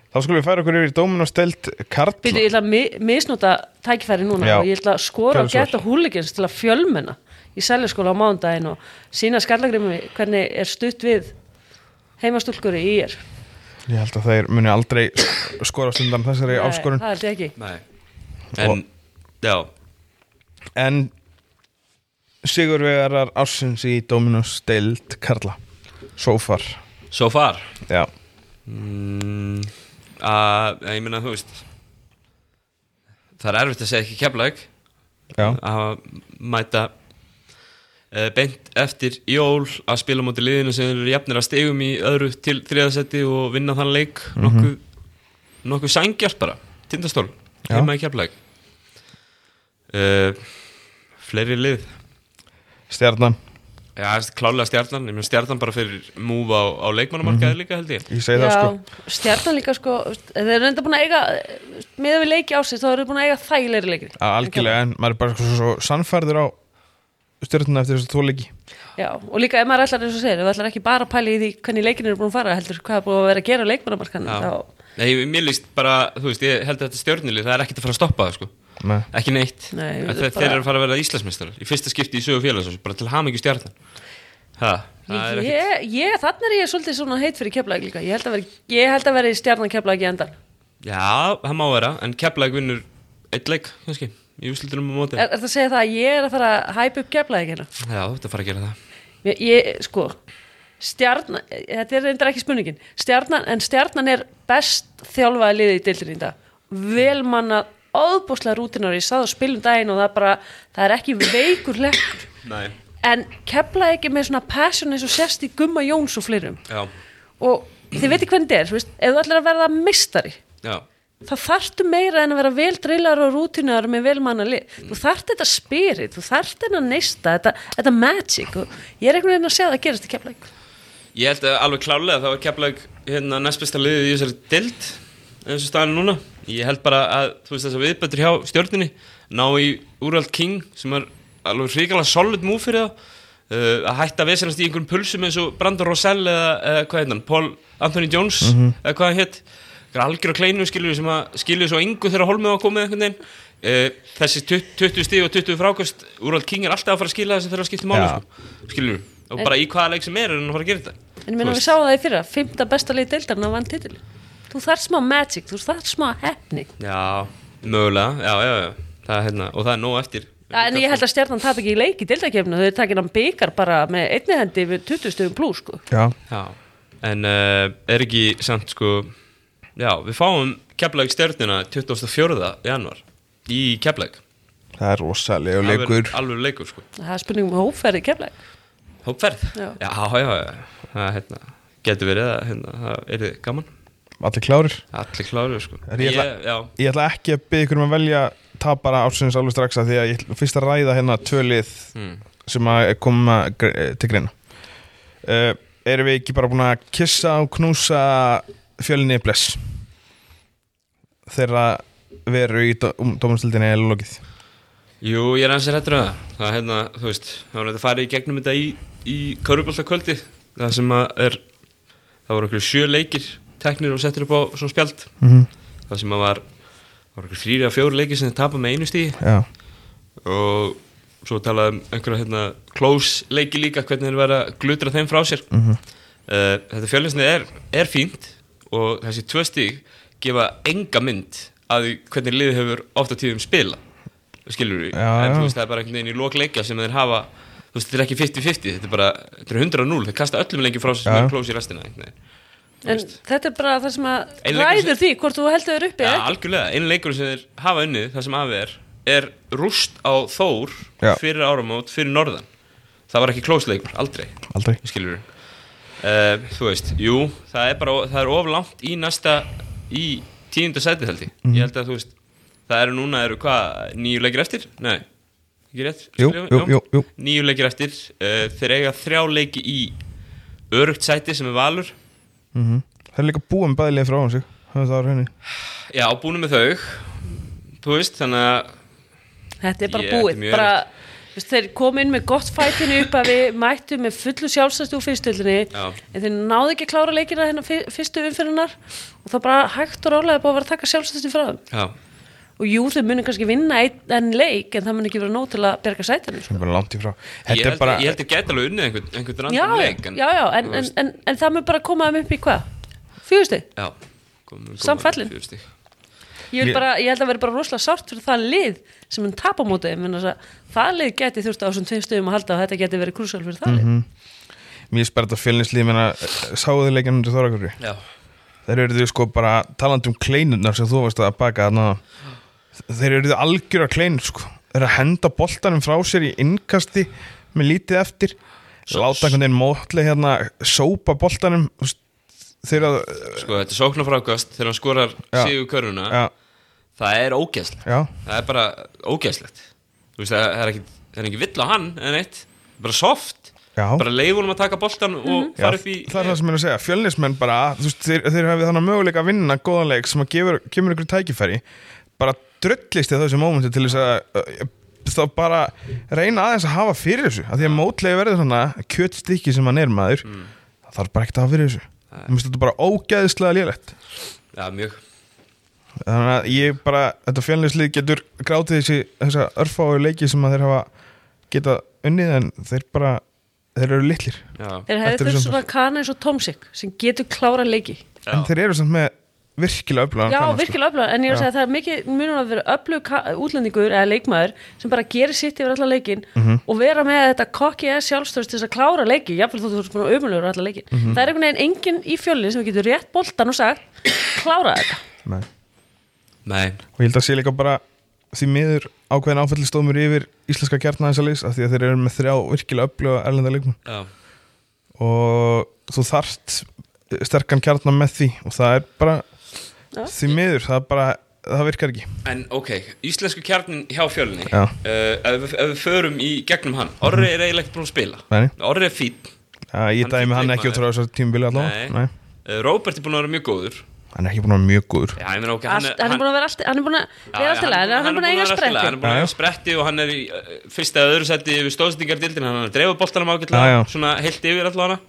Þá skulum við færa okkur yfir í dómin og stelt Karla Býtu, ég ætla að mi- misnota tækifæri núna Já. og ég ætla að skora og Gjörðu svo geta húligins til að fjölmenna í sæljaskóla á mándaginn og sína skallagrimmi hvernig er stutt við heimastúlkur í ír. Ég held að þeir muni aldrei skorast undan þessari Nei, áskorun Það held ég ekki. Nei En, já, En Sigurvegarar ásins í Dominos deild Karla Sofar so far Já, mm, að, Ég meina, þú veist Það er erfitt að segja ekki kepla já, að mæta uh, beint eftir jól að spila á móti liðinu sem eru jafnir að stegum í öðru til þriðasetti og vinna þann leik Mhm. nokkuð, nokkuð sængjart bara tindastól, Já. heima í keflæk uh, fleiri lið stjarnan Já, það er klálega stjarnan, ég meina stjarnan bara fyrir múf á, á leikmannamarkaði Mhm. líka held ég Ég segi það sko stjarnan líka sko, þeir eru enda búin að eiga, miða við leiki ásins, þá eru þeir búin að eiga þægilegri leikri. að Algjörlega, en maður er bara sko svo, svo sannfærður á stjarnan eftir þessu tvoleiki Já, og líka ef maður ætlar eins og segir, ef maður ætlar ekki bara að pæla í því hvernig leikin eru búin að fara, heldur hvað er búin að vera að gera á leikmannamarkanum, Já. þá, Nei, mér líst bara, þú veist, ég held að þetta stjörnilið það er ekkert að fara að stoppa það sko Nei. ekki neitt Nei, Að þetta þeir, er bara- þeir eru að fara að verða Íslandsmeistarar í fyrsta skipti í sögu félags bara til hamingju stjarnan ha, það er ekkert Ég, ég, þannig er ég svolítið svona heitt fyrir keflæk líka ég held að veri, ég held að veri stjarnan keflæk í endan já, það má vera, en Keflæk vinnur eitt leik, kannski, í úslitunum á móti er, er það að segja það að ég er að fara að hæpa upp keflæk hérna já, þú ert að fara að gera það ég, ég, sko, stjarnan þetta er reyndar ekki spurningin stjarnan, en stjarnan er best þjálfaði liðið í deildinni í dag vel manna óbúslega rútinar ég sá það á spilum daginn og það bara það er ekki veikur lekkur Nei. en keflæk ekki með svona passion eins og sérst í Gumma Jóns og fleirum já, og þið veitir hvernig þetta er þú veist, ef þú ætlar að verða mistari já, það þarftu meira en að vera vel drillar og rútinar með vel manna lið þú Mm. þarft þetta spirit, þú þarft þetta neista þetta, þetta magic og ég er einhvern veginn að segja að það gerist í keflæk ég held að alveg klálega þá er Keflæk hérna næstbesta liðið í þessari dild eins og staðan er núna ég held bara að, þú veist, þess að viðbættur hjá stjörninni ná í Úrald King sem er alveg hrikalega solid move fyrir það uh, að hætta að vesenast í einhverjum pulsum eins og Brandon Rosell eða, eða hvað heit hann, Paul Anthony Jones eða hvað hann hétt Það er algjör á kleinu skilur sem að skilur svo engu þegar holmið á að koma einhvern veginn uh, þessi 20 20 stig og 20 frákast Úrald King er alltaf að fara að skila þessi þegar að skipta máli Já. sko. skilur og bara í hvaða leik sem er er hann að fara að gera þetta en ég meina Þú við veist. sáum það í fyrra, fymta besta lið deildarna vann titil þú þarft smá magic, þú þarft smá hefni Já, mögulega, já, já, já það er, hérna, og það er nóg eftir en ég held að stjarnan tap ekki í leik í deildarkefnu þau er takin hann byggar bara með einni hendi við 20 stöðum pluss sko. Já, Já, en uh, er ekki samt sko Já, við fáum Keflæk stjörnina 24. januar í Keflæk það er rosalega leikur alveg, alveg leikur sko. það er spurning um hóferði kemla Hópferð Já. Já, já, já, það hérna, getur verið að hérna, það er gaman allir klárir Allir klárir sko Er ég ætla- ég, Já, ég ætla ekki að byggja ykkur um að velja tapara ársins alveg strax að því að ég ætla fyrst að ræða hérna tvölið mm. sem að koma gr- eh, til greina uh, erum við ekki bara búin að kissa og knúsa fjölinni bless þeirra veru í dó- um, dómumstildinni eða lokið Jú, ég er aðeins hættur að það Það er hérna, þú veist, það var þetta farið í gegnum þetta í, í Köruboltakvöldi Það sem að er Það voru okkur sjö leikir teknir og settir upp á svona spjald Mhm. Það sem að var Það voru okkur þrýri að fjóri leikir sem þið tapa með einu stíði já, Og svo talaði um einhverja hérna Close leiki líka, hvernig þeir verða að glutra þeim frá sér Mhm. uh, Þetta fjölinsnið er, er fínt Og þessi tvö stíg gefa enga mynd að því hvernig liðið hefur ofta tíðum spila skilur við, Já, en já. þú veist það er bara einhvern veginn í lokleikja sem þeir hafa þú veist þetta er ekki 50-50, þetta er bara þetta er 100-0, þeir kasta öllum lengi frá sér sem Já. er klós í restina einhvern veginn. en þetta er bara það sem að Ein leikur ræður því hvort þú heldur þér uppi Já, eða ekki. algjörlega, einu leikur sem þeir hafa unnið, það sem afi er er rúst á Þór Já. fyrir áramót, fyrir norðan það var ekki klósleikur, aldrei aldrei skilur við þú veist, jú, það er bara það er of langt í næsta í tíunda sæti held ég, Mhm. ég held að þú veist það eru núna, eru hvað, nýju leikir eftir? Nei, ekki rétt? Jú, Skrifa- jú, já. jú, jú. Níu leikir eftir, uh, þeir eiga þrjá leiki í örugt sæti sem er valur það er Mhm. líka búið með bæðilega frá hann sig það var henni já, búinu með þau þú veist, þannig að þetta er bara Ég- þetta er búið mjög bara, þú veist, þeir komu inn með gott fætinu upp að við mættum með fullu sjálfstæðstu úr fyrstöldinni Já. en þeir náðu ekki að klára leikina hérna fyr- fyrstu umfyririnnar og það bara hægt og rálega er búið að vera að taka sjálfstæðstu frá þeim já, og jú, þeir munu kannski vinna einn enn leik en það mun ekki vera nóg til að berga sætinu sko. það er bara langt í frá ég þetta held, er bara ég held að geta alveg unnið einhvern, einhvern já, andan leik já, já, en, þú en, veist, en, en það mun bara koma þeim upp í hvað? Fjögusti? já, kom- kom- Samfallin. fjögur stig. Ég, Ég- vil bara, ég held að vera bara rosalega sárt fyrir það lið sem mun tapa á móti þeim, vegna þess að það lið geti þurft á þessum tveim stöðum að halda og þetta geti verið krúsal fyrir það lið mér er spært að fjölinslið menna sáðu eh, leikinn undir Þorakurri já, Þeir eru sko bara talandi um kleinurnar sem þú varst að baka þarna Þeir eru algjör að kleinur sko Þeir eru að henda boltanum frá sér í innkasti með lítið eftir Láta einhvern veginn mótli hérna sópa boltanum þú veist, Þeir eru að sko þetta er sóknarfrákast þegar hann skorar Já. síðu körfuna Já, það er ógæslega já, það er bara ógæslegt þú veist, það er ekki, það er ekki vill á hann en eitt, bara soft já bara leifunum að taka boltan Mhm. og Já, fara upp í það er það sem ég er að segja, fjölnismenn bara þú veist, þeir, þeir hafi þannig möguleika að vinna góðan leik sem að gefur, kemur ykkur tækifæri bara drullist í þessu mómenti til þess að uh, þá bara reyna aðeins að hafa fyrir þessu af því að mótlegi verður svona kjötstykki sem hann er maður Mm. það þarf bara ekkert að hafa fyrir þessu mér finnst þetta bara ógæðislega lélegt já, mjög þannig að ég bara, þetta fjölnislið getur grátið þessi, þessa örfáu leiki sem að þeir hafa geta unnið en þeir bara, þeir eru litlir já, Þeir Þetta hefði eru þurft samt- svona kana eins og Tomsik sem getur klára leiki. já. en þeir eru samt með virkilega öflugan Já, kanna, sko. virkilega öflugur, en ég er að Já. segja að það er mikið munum að vera öflug ka- útlendingur eða leikmaður sem bara gerir sitt yfir alla leikin Mhm. og vera með þetta kokki eða sjálfstöðust til þess að klára leiki, jafnvel þótt þú ert búin að ömulegur alla leikin. Mhm. Það er einhvern veginn enginn í fjölni sem getur rétt boltan og sagt klára þetta. Nei. nei, og ég held að sé líka bara því miður ákveðin áfællistómur yfir íslenska kjarnæðinsalís af því að þeir eru með þrjá virkilega öfluga erlenda leikmenn já, og þú þarft sterkan kjarnar með því og það er bara Já. því miður, það er bara það virkar ekki en ok íslensku kjarnin hjá fjölni Já. uh, ef, við- ef við förum í gegnum hann Orri er eiginlega ekki búin að spila Nei. Orri er fín, ja, ég dæmi Hann er hann leikmaður. ekki út frá þessar tímubili Nei. allavega Nei. uh, Robert er búin að vera mjög góður hann er ekki búin að vera mjög góður já, ég meina ok Allt, hann er búin að vera allt, hann er búin að vera allt í lagi, en hann er búin að eiga sprett hann er sprettin. búin að Já, eiga já. spretti og hann er í uh, fyrsta eða öðru seti við stóðsendingardildin hann er að dreifa boltanum Já, já. ágætlega svona heilt yfir allavega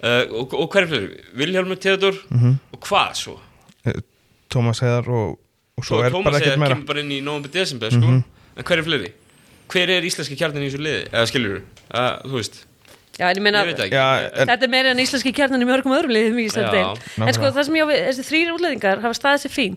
uh, og, og hver er fyrir? Vilhelmur Theodor Mhm. og hvað svo? Tómas Eh, Heiðar og, og svo Svo er bara Tómas ekkert eða meira Mhm. kemur bara inn í november desember sko. en hver er fleiri? hver er íslenski kjarnin í þessu liði? eða skilur þú veist Já, en ég meina, ég veit það ekki já, en, þetta er meira en íslenski kjarnan í mörgum öðrum liðum í Íslandi Já, nákvæmlega. en sko það sem ég á við, þessi þrýri útlendingar hafa staðið sér fín,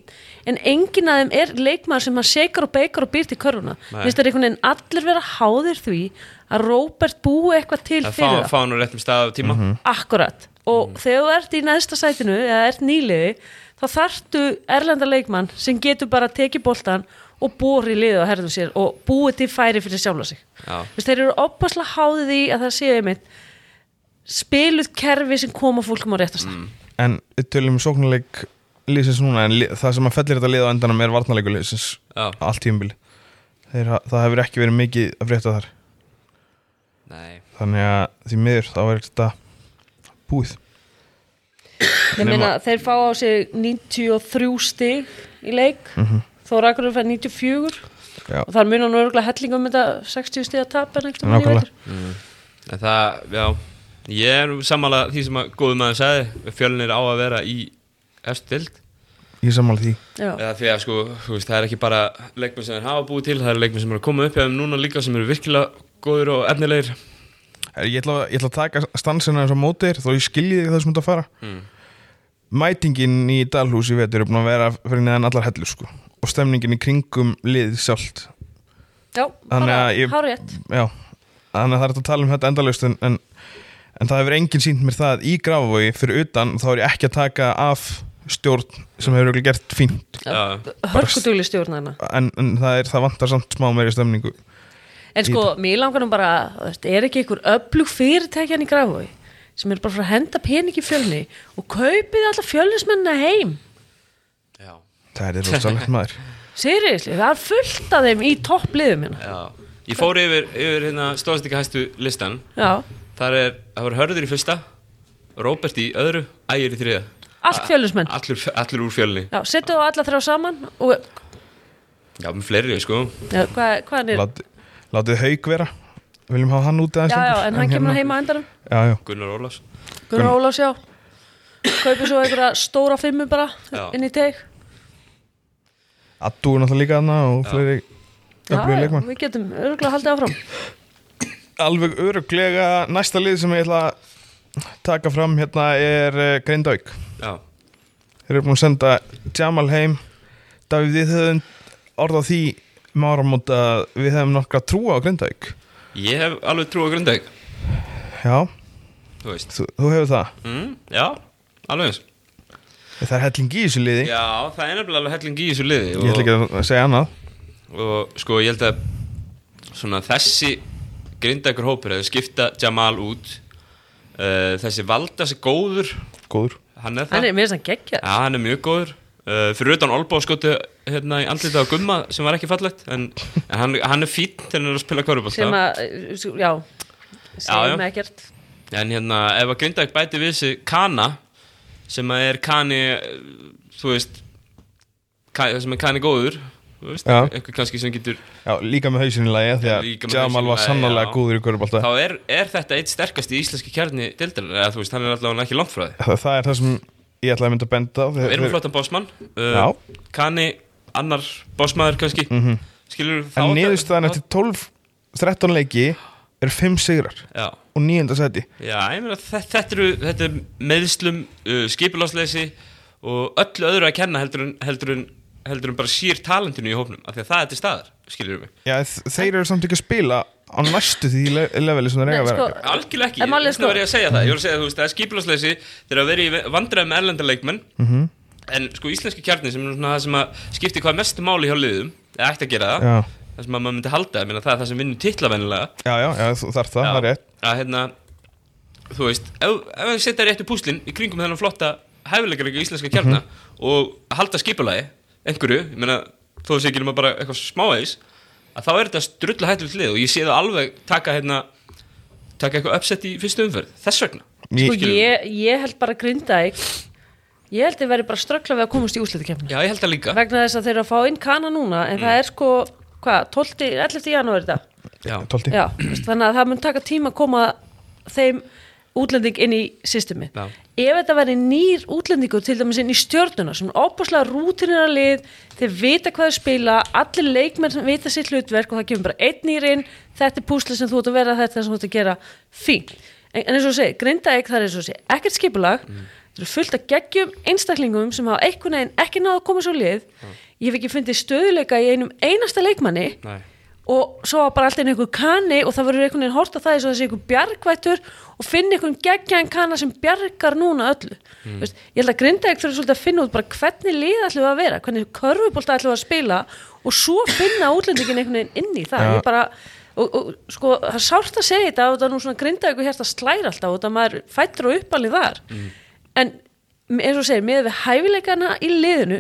en enginn af þeim er leikmaður sem hann seikar og beikar og býr til körfuna, Nei. minnst það er einhvern veginn allir vera háðir því að Róbert búi eitthvað til að fyrir fá, það, fá hann á réttum stað af tíma Mhm. akkurat og þegar þú ert í næsta sætinu eða ert nýliði, þá þartu erlenda leikmann sem getur bara tekið boltan og bori liðið á herðum sér og búið til færi fyrir sjálfa sig Já. Þú veist, þeir eru opaslega háðið í að það séu einmitt spiluð kerfi sem koma fólkum á réttast mm. En við tölum um sóknarleik liðsins núna en lið, það sem að fellir þetta lið á endanum er varnarleikur liðsins Já. allt tímabili Þeir, ha- það hefur ekki verið mikið að frétta þar Nei, þannig að því miður þá er þetta búið Ég meina, þeir fá á sig 93 stig í leik mm Mhm. -hmm. þó rakurur fær 94 Já. og þar munar nú örgulega hellingum um þetta 60 stig að tapa en eitthvað Nákvæmlega. en það, já Ég er samanlega því sem að góðu maður sagði Fjölnir á að vera í efstu dild Ég er sammála því Já. Eða því að sko, þú veist, það er ekki bara leikmenn sem þeir hafa búið til, það eru leikmenn sem eru að koma upp hjá þeim núna líka sem eru virkilega góður og efnilegir Er- Ég ætla, ég ætla að taka stansina eins og móti þér þó ég skilji þig það sem þú ert að fara Mm. Mætingin í Dalhús í vetur er búin að vera fyrir neðan allar hellur sko. og stemningin í kringum liðið sjálft Já, Þannig bara að ég- hárétt Já, þannig að það er hægt að tala um þetta endalaust en, en, en það hefur enginn sínt mér það í grafavogi fyrir utan þá er ég ekki að taka af stjórn sem hefur örugglega gert fínt Já, hörkutugli stjórnarna en, en það, er, það vantar samt smá meiri stemningu En sko, mér langar nú bara, þú veist, er ekki einhver öflug fyrirtækjan í Grafói sem er bara frá að henda pening í fjölni og kaupið alla fjölnismennina heim já, Það er rosalegt maður Sýriðisli, það er fullt af þeim í toppliðum hérna já Ég fór yfir, yfir hérna stóðstika hæstu listan Já, Þar er, það voru Hörður í fyrsta Róbert í öðru, Ægir í þriða allt fjölnismenn Allur, allur úr fjölni Já, settu þú alla þrjá saman og Já, með fleiri, sko já, hvað, hvað er Lát, Látið haug vera Viljum hafa hann út aðeins Já, já, lengur? hérna- en hann kemur heima á endanum Já, já, Gunnar Ólafs Gunnar Ólafs, já Kaupið svo einhverja stóra fimmu bara Já. inn í teg Addu er náttúrulega líka þarna og fleiri Já, öflugir já, leikmenn. við getum örgulega haldið áfram Alveg öruglega næsta lið sem ég ætla að taka fram hérna er eh, Grindavík Já, Þeir eru búin að senda Jamal heim Davíð, við höfum orðað því máramót að við höfum nokkra trúa á Grindavík ég hef alveg trú á Grindæk Já, Þú veist þú, þú hefur það mm, Já, alveg eins Það er helling í þessu liði Já, það er nefnilega alveg helling í þessu liði Ég ætla ekki að segja annað og sko ég held að svona þessi grindakur hópur eða skipta Jamal út uh, þessi Valdas er góður Góður hann er það, Hann er mér þess að gegja ja, hann er mjög góður uh, fyrir utan Olbáskóti hérna í andlita á Gumma sem var ekki fallegt en, en hann, hann er fín til hann er að spila sem körubólta að, já já. segjum ekkert en hérna ef að grindak bæti við sig Kana sem að er Kani eh, þú veist ka, sem er Kani góður þú veist, Já. eitthvað kannski sem getur Já, líka með hausinu lægi því að Líka með Jamal var hausinn í lagi, sannarlega já. góður í körubólta þá er, er þetta eitt sterkast í íslenski kjarni dildarar, eða þú veist, hann er allavega ekki langt frá þið það, það er það sem ég ætlaði að mynda að benda á við erum með flottan bósmann Já. Mhm. kanni annar bósmaður kannski mm -hmm. skilur þá En niðurstaðan eftir 12, 13 leiki er 5 sigrar já, og 9. seti já, ég meina þe- þetta eru þetta er meðslum, uh, skipulásleisi og öllu öðru að kenna heldur en, heldur en, heldur en bara sér talentinu í hópnum, af því að það er til staðar skilur við, Já, þ- þeir eru samt ekki að spila á næstu því le leveli sem þeir eiga að Nei, vera sko, að gera. algjörlega ekki En málið er þess vegna sko- var ég að segja það, ég var að segja þú veist, það er skipulásleisi þegar að vera í vandræði með erlendaleikmenn en sko íslenski kjarni sem er svona það sem að skipti hvað mestu máli hjá liðum, eða ætti að gera það Já, það sem að maður myndi halda, ég meina það er það sem vinnur titla vennilega já, já, já þú- það er það, það er rétt að hérna þú veist, ef, ef við setja réttu púslin í kringum þennan flotta hæfileikaríka íslenska Mhm. kjarna og halda skipulagi einhverju, ég meina þó þess ekki nema bara eitthvað smáeis að þá er þetta strulla hættulegt lið og ég sé það alveg taka hérna taka eitthvað uppsett í fyrstu umferð, þess vegna Ég- Sko Skilur. ég, ég held bara Grindavík Ég held þið verið bara að ströggla við að komast í úslitakefni Já, ég held það líka Vegna þess að þeir eru að fá inn kana núna En það er sko, hvað, 12, 11. janúar þetta Já, 12. Já, veist, þannig að það mun taka tíma að koma þeim útlending inn í systemi Já. Ef þetta væri nýr útlendingur til dæmis inn í stjörnuna Svona opaslega rútinina lið Þeir vita hvað þeir spila Allir leikmenn sem vita sitt hlutverk Og það kemur bara einn nýr inn Þetta er púsla sem þú ert að vera Þetta er sem þú ert að gera fínt En, en eins og segi, grindaðik það er eins og segi Ekkert skipulag Mm. Þeir eru fullt af geggjum einstaklingum sem hafa einhvern veginn ekki náða að koma svo lið Ég hef ekki fundið stöðuleika í einum einasta leikmanni Nei. og svo var bara alltaf einhver kani og það verður einhvern veginn horta það eins og þessi einhver bjargvættur og finna einhvern geggjaðan kana sem bjargar núna öllu Veist, ég held að Grindavík þurfi svolítið að finna út bara hvernig lið ætlum við að vera, hvernig körfubólta ætlum við að spila og svo finna útlendingin einhvern veginn inn í það Já. ég bara, og, og sko, það er sárt að segja þetta og þetta er nú svona Grindavík og hérst að slæra alltaf og þetta maður fættur og uppalið þar en eins og segir, með við hæfileikana í liðinu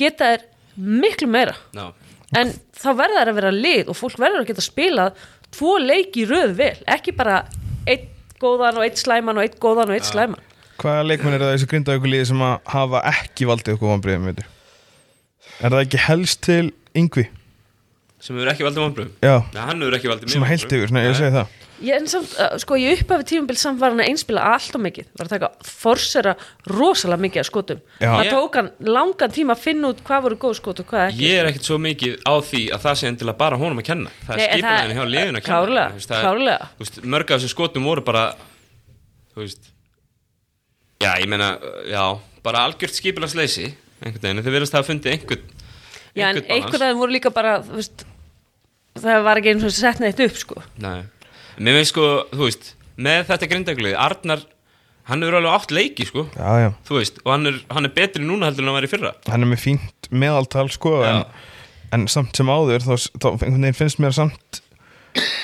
geta er miklu meira Já, en þá verða þær að vera lið og fólk verður að geta spilað tvo leiki í röð vel, ekki bara einn góðan og einn slæman og einn góðan og einn slæman Hvaða leikmenn er það í þessu grindaugulíði sem að hafa ekki valdið okkur vombriðum veitur? Er það ekki helst til yngvi? sem hefur ekki valdið vonbröðum Já, Já, hann hefur ekki valdið mér sem að heilt vonbrigðum. yfir, nei, ég Nei. segi það ég, en samt, uh, sko, ég upphafi tímabil samt var hann að einspila allt og mikið, var að taka forsera rosalega mikið að skotum Já. það Ég- tók hann langan tíma að finna út hvað voru góð skot og hvað ekki Ég er ekkert svo mikið á því að það sé endilega bara honum að kenna Það Nei, er en það- skipulegin hjá liðinu að kenna Klárlega, Þú veist, það er- klárlega. þú veist, Mörg af þessu skotum voru bara Þú veist Já, ég meina, já Bara algjört skipulagsleysi Einhvern veginn, þau verðast það að fundi einhvern Já, en einhvern balans. einhvern veginn voru líka bara þú veist, það var ekki eins og sett neitt upp sko. Nei, mér finnst sko, þú veist með þetta grindaglið, Arnar hann hefur alveg átt leiki, sko Já, já, þú veist, og hann er, hann er betri núna heldur en hann var í fyrra hann er með fínt meðaltal sko en, en samt sem áður þá, þá einhvern veginn finnst mér samt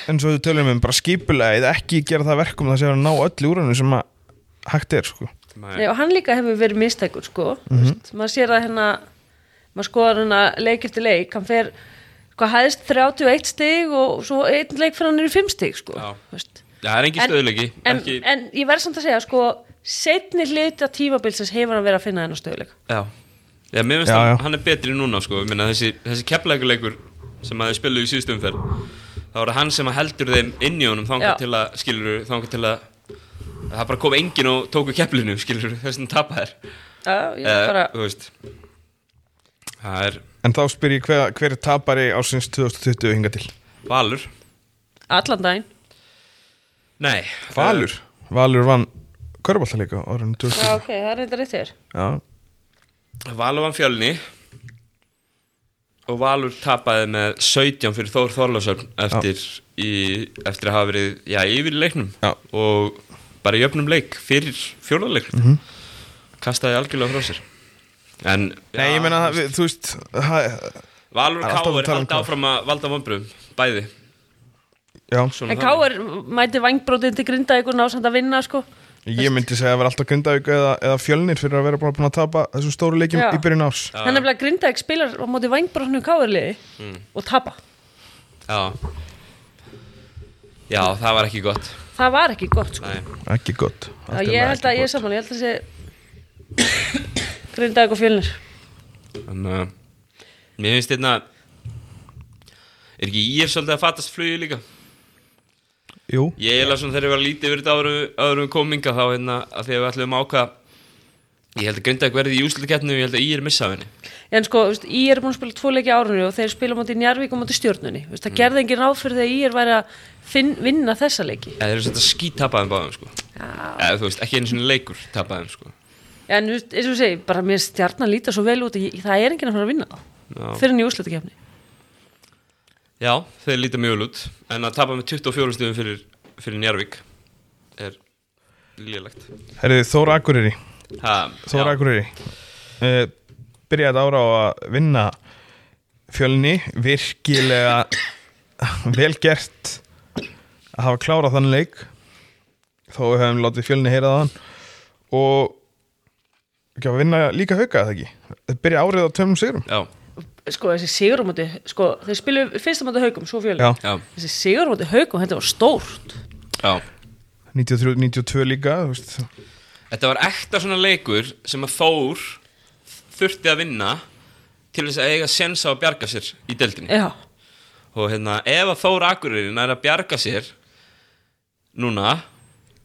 eins og þú tölum um bara skipulegið ekki gera það verkum það sé að ná öllu úr hennu sem að hægt er sko Nei, og hann líka hefur verið mistækur sko. mm maður sér að hérna maður skoðar hérna leik eftir leik hann fer, hvað hæðist 31 stig og svo einn leik fyrir hann er í 5 stig sko. Já. Þú veist. Já, það er engin stöðuleiki en, ekki, en ég verð samt að segja sko, setni hluti af tímabilsins hefur hann verið að finna hennar stöðuleika já. já, mér finnst Já, hann, já. hann er betri núna, sko Ég meina, þessi, þessi keplækuleikur sem að þau spiluðu í síðustum fer þá er það hann sem að heldur þeim inn í honum Já. þangað til að, skilur, þangað til að það bara kom enginn og tóku keplinu, skilur, þessum tapa þær Já, ég Eh, bara, þú veist það er En þá spyr ég hver, hver er tapari ásins 2020 hinga til? valur allan daginn Nei Valur? Eh, Valur vann Körbáltaleika árið Já, 2020 ok, það er þetta rétt þér Já, Eh, Valur vann fjölni og Valur tapaði með 17 fyrir Þór Þorlásöfn eftir, í, eftir að hafa verið já, yfir í leiknum Já. og bara í öfnum leik fyrir fjórðarleik mm Mhm. -hmm. kastaði algjörlega frá sér en Nei, já, ég meina, við, þú veist það, Valur og Það er alltaf að Káur tala um halda KR. áfram að valda vonbröðum bæði Já, svona En þannig. Káur mæti vangbrótið til grindaðíkur násamt að vinna sko. ég myndi segja að vera alltaf Grindavík eða, eða fjölnir fyrir að vera bara búin að tapa þessum stóru leikjum Já. í byrjun árs Já. Mm. Þannig að grindaðík spilar á móti vangbrótinu káurliði og tapa já. já, það var ekki gott Það var ekki gott sko. Nei. Ekki gott Já, ég held að ég er saman, ég held að sé Grindavík og fjölnir Þannig að eh, Mér finnst þetta Er ekki ég svolítið að fatast flugi líka Jú, Ég er alveg svona þegar ég var lítið yfir þetta árum, árum kominga Þá hérna að því að við ætlum að ákvað Ég held að grinda ekki verði í úslutakettinu Ég held að ég er missa af henni En sko, þú veist, ég er búin að spila tvo leiki á árunni og þeir spila á móti Njarvík og móti stjórnunni Þú veist, Það gerði engin ráð fyrir þegar ég er væri að finn, vinna þessa leiki Eða þeir eru svolítið að skítapaðum báðum sko Eða þú veist, ekki einu svona leikur tapaðum sko En þú veist, eins og þú segir, bara mér stjarnan líta svo vel út að ég, það er engin að fara að vinna það Já, fyrir en í úrslutakefni Já þeir líta mjög vel út En að tapa með 24 stöðum fyrir, fyrir Njarvík Er lélegt herriði Þóra Akureyri Ha, Þóra já. Akureyri uh, Byrjaði ára á að vinna fjölni virkilega vel gert að hafa klárað þann leik þó við höfum látið fjölni heyra þann og ekki að vinna líka hauka eða ekki Þeir byrja árið á tveimum sigurum Já, Sko, þessi sigurumóti, sko, þeir spilu fyrsta móti haugum, svo fjölnir Já, já, Þessi sigurumóti haugum, þetta var stórt já 93-92 líka þú veist. Þetta var ekta svona leikur sem að Þór þurfti að vinna til þess að eiga sensa að bjarga sér í deildinni Já, og hérna, ef að Þór Akureyrin er að bjarga sér núna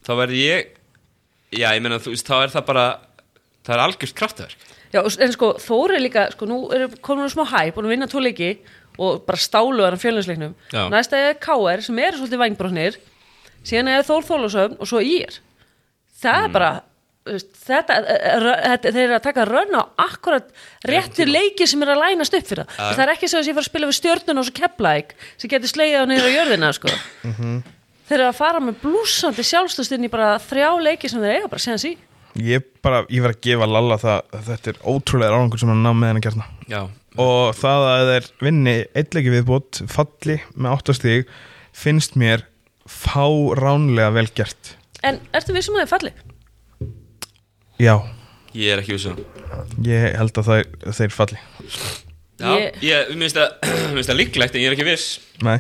þá verði ég já, ég meina, þú veist, þá er það bara það er algjört kraftverk Já, og- en sko Þóri líka, sko nú er komin smá hæ, búin að vinna tvo leiki og bara stálu hann fjölinsleiknum Já. næsta er KR sem Mm. eru svolítið vangbróknir síðan er Þór Þólasöfn og svo IR það er bara þú veist, þetta, eh, rö- þetta þeir eru að taka rönn á akkurat réttu leiki sem er að lænast upp fyrir það Já. það er ekki svo að ég fara að spila við stjörnun og svo keplaðik sem getur slegið á niður á jörðina sko. Mhm. þeir eru að fara með blúsandi sjálfstöðst inn í bara þrjá leiki sem þeir eiga bara séðan sí Ég bara, ég verð að gefa Lalla það að þetta er ótrúlega ráðangur sem hann ná með henni kjarna Já, og það að þeir vinni eitleiki viðbót, falli með 8 stíg finnst mér fá ránlega vel gert en ertu vissum að þeir falli? Já, ég er ekki vissu um það. ég held að þeir, þeir falli Já, Ég- ég, mér finnst það- mér finnst það líklegt en ég er ekki viss Nei,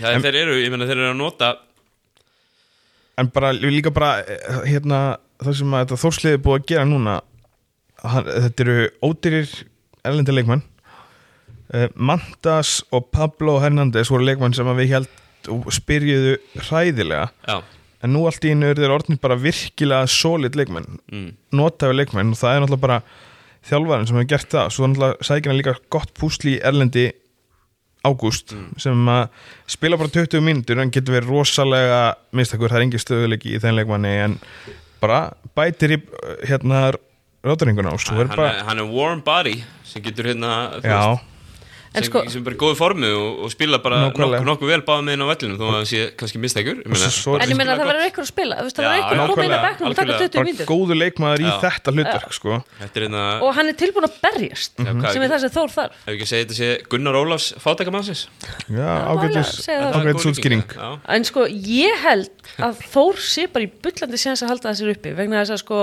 Já, en þeir eru, ég meina þeir eru að nota en bara líka bara eh, hérna, það sem að þetta þórsliði búið að gera núna hann, þetta eru ódýrir erlendir leikmenn uh, Mantas og Pablo Hernández voru leikmenn sem að við held og spyrjuðu hræðilega Já, en nú allt í einu eru þeir orðnir bara virkilega solid leikmenn, mm, notafi leikmenn og það er náttúrulega bara þjálfarinn sem hefur gert það svo náttúrulega sækir hann líka gott púsli í Erlendi ágúst Mm. sem að spila bara 20 mínútur en getur verið rosalega mistakur, það er engin stöðuleiki í þeim leikmanni en bara bætir í hérna rótaringuna og svo er hann, er, bara hann er warm body sem getur hérna þú já, veist, En sem, sko- sem bara er góð formu og, og spila bara Nákvæmlega. nokkuð nokku vel báða meðin á vellinum þó að það sé kannski mistækur Og svo- svo- en ég meina virkilega það verður gott. eitthvað að spila þú veist, það verður Já, eitthvað að koma inn að algjörlega, bekknum og taka algjörlega. 20 bara mínútur góðu leikmaður í Já. þetta hlutverk sko. Þetta er hérna, og hann er tilbúin að berjast hvað- sem er það sem Þór þarf ef ekki að segja þetta sé Gunnar Ólafs fátækamannsins já, mæla, ágætis segja það. ágætis útskýring Já, en sko ég held að Þór sé bara í bullandi séns að halda þessir uppi vegna þess að sko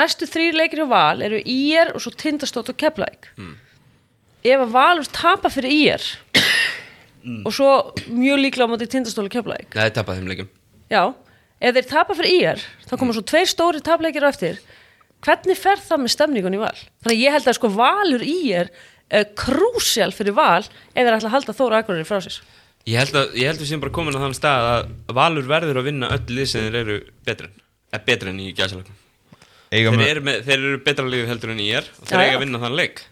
næstu þrýr leikir hjá Val eru IR og svo Tindastótt og Keflæk ef að Valur tapa fyrir IR og svo mjög líklega á móti Tindastótt og Keflæk það er tapað þeim leikum já, ef þeir tapa fyrir IR þá Mm. koma svo tveir stóri tapleikir á eftir hvernig fer það með stemningun í Val þannig að ég held að sko Valur IR er krúsjál fyrir Val ef þeir ætla að halda Þór Akureyri frá sér Ég held að, ég held að við séum bara komin að þann stað að Valur verður að vinna öll lið sem þeir eru betri en, eða betri en í gæsalökum eiga þeir, með eru með- þeir eru betra liðið heldur en ég er og þeir Já, eiga já. að vinna þann leik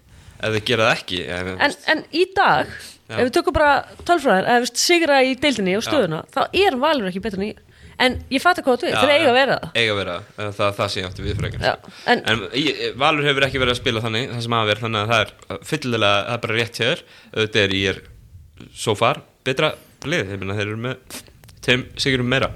ef þeir gera það ekki ef, en, en í dag, Já. ef við tökum bara tölfræðar, ef við sigra í deildinni og stöðuna, þá er valur ekki betur en ég en ég fatt hvað þú er, Já, þeir eiga já, að vera það eiga að vera það, það, það, það sé ég átti við frekar Já, en- en ég- Valur hefur ekki verið að spila þannig það sem hafa verið, þannig að það er fyllilega það er bara rétt hjá þér, auðvitað er ég er so far betra lið ég meina þeir eru með þeim sigurum meira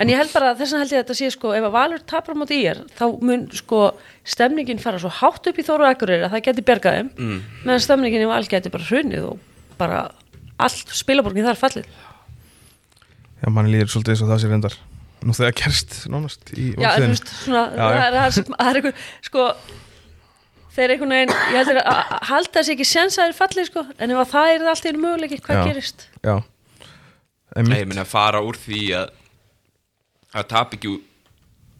en ég held bara, þess vegna held ég að þetta sé sko ef að valur tapar á móti í er, þá mun sko stemningin fara svo hátt upp í Þóru Akureyri að það geti bjargað þeim mm. meðan stemningin í val geti bara hrunið og bara allt spilaborgin þar fallið já, mann líður svolítið eins og það sé reyndar nú þegar kerst nánast í Já, en þú framtíðinni. veist, svona, Já, já. það er, það er, sem- það er einhver, sko, þeir einhvern veginn, ég held þeir að að halda þessi ekki sens að þeir fallið, sko, en ef að það er allt í einu möguleiki, hvað Já. gerist? já, Nei, einmitt ég meina að fara úr því að að tap ekki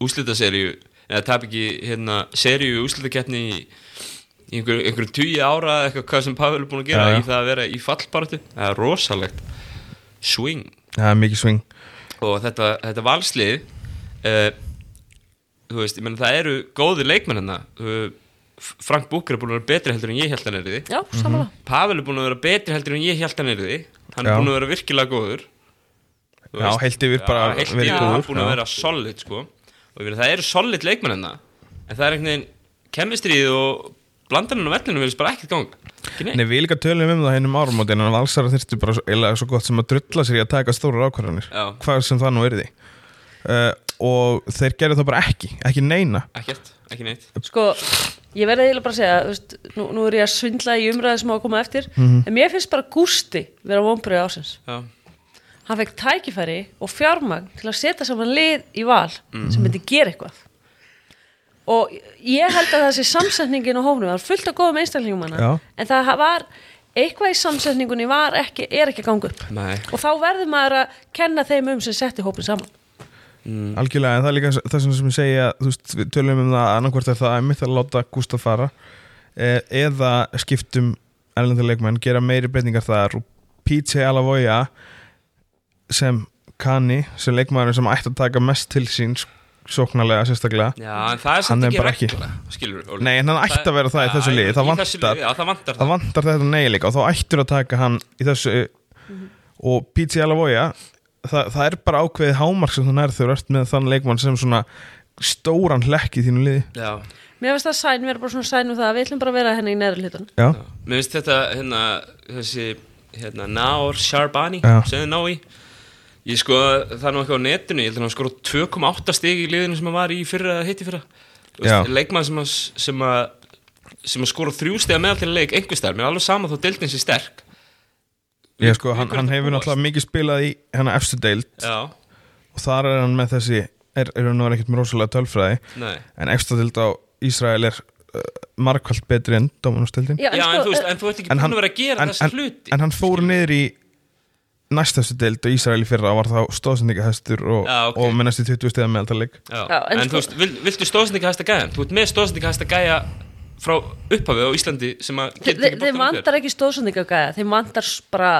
úslitaserju eða tap ekki hérna, serju úslitakeppni í í einhver, einhverjum tugi ára eða eitthvað hvað sem Pavel er búin að gera Já, já. í það að vera í fallbaratu það er rosalegt swing það er mikið sving og þetta, þetta valslið uh, þú veist, ég meina það eru góði leikmenn hérna uh, Frank Búker er búin að vera betri heldur en ég held hann er því Já, Mhm. samanlega. Pavel er búin að vera betri heldur en ég held hann er því hann Já. er búin að vera virkilega góður Þú Já, veist. heilt yfir bara heilt verið yfir góður, hann búin að já. vera solid sko. og ég meina það eru solid leikmenn hérna en það er einhvern veginn kemistrið og blandarinn á vellinu verðist bara ekkert gang ekki neitt Nei, við líka tölum um það hennum árumótin en valsara þyrftu bara svo, eiginlega svo gott sem að drulla sér í að taka stórar ákvarðanir Já. hvað sem það nú er því uh, og þeir gerðu það bara ekki ekki neina ekkert, ekki neitt Sko, ég verði eiginlega bara að segja, þú veist, nú, nú er ég að svindla í umræði sem á að koma eftir, Mhm. en mér finnst bara Gústi vera vonbröðið ásins. já, Hann fekk tækifæri og fjármagn til að setja saman lið í val Mhm. sem myndi gera eitthvað. Og ég held að það sé samsetningin á hófnum, það er fullt af góðum einstaklingum hana, Já. en það var, eitthvað í samsetningunni var ekki, er ekki að ganga upp. nei Og þá verður maður að kenna þeim um sem setti hópin saman. Mm. algjörlega en það er líka það sem, sem ég segja þú veist, við tölum um það annarkvort er það að mitt að láta Gústaf fara eh, eða skiptum erlendarleikmenn gera meiri breytingar þar og P.T. Alavoja sem kanni sem leikmaður sem ætti að taka mest til sín sóknarlega sérstaklega já, en það Hann er samt er ekki bara ekki- regla skilur við, Óli. Nei, en hann ætti að vera það í þessu liði, það í þessu vantar. liði, já, það vantar það það vantar þetta neyleika og þá ættur að taka hann í þessu og P.T. Alavoja það, það er bara ákveðið hámark sem þú nærð þegar þú ert með þann leikmann sem svona stóran hlekk í þínu liði Já. Mér finnst það sæn, við erum bara svona sæn um það að við ætlum bara að vera henni í neðri hlutan Já, Mér finnst þetta, hérna, þessi, hérna, Naor Sharbani, Já. sem þið ná í. Ég sko, það er nú eitthvað á netinu, ég held að hann skora 2,8 stig í liðinu sem hann var í fyrra, hitti fyrra. Þú Já. veist, Leikmann sem að, sem að, sem að skora þrjú stiga meðal til að leik einhver stær, mér er alveg sama þó deildin sé sterk. ég sko, hann, hann hefur náttúrulega mikið spilað í hennar efstu deild Já, og þar er hann með þessi er, er hann nú ekkert með rosalega tölfræði nei. en efstu deild á Ísrael er uh, markvælt betri en Dómanusteldin Já, sko, en þú eh, veist, en þú ert ekki en hann- búin að vera að gera en- þessa en- hluti. En hann fór niður í næst efstu deild á Ísrael í fyrra og var þá stóðsendingahæstur og, Já, ok. og með næstu 20 stiða meðaltaleg Já, Já, en en, sko- þú veist, vil, viltu stóðsendinga hæsta gæðan? Þú ert með stóðsendinga hæsta gæja frá upphafið á Íslandi sem að getur Þe, tekið þeim boltann upp vantar ekki stóðsendingagæða þeim vantar s- bara,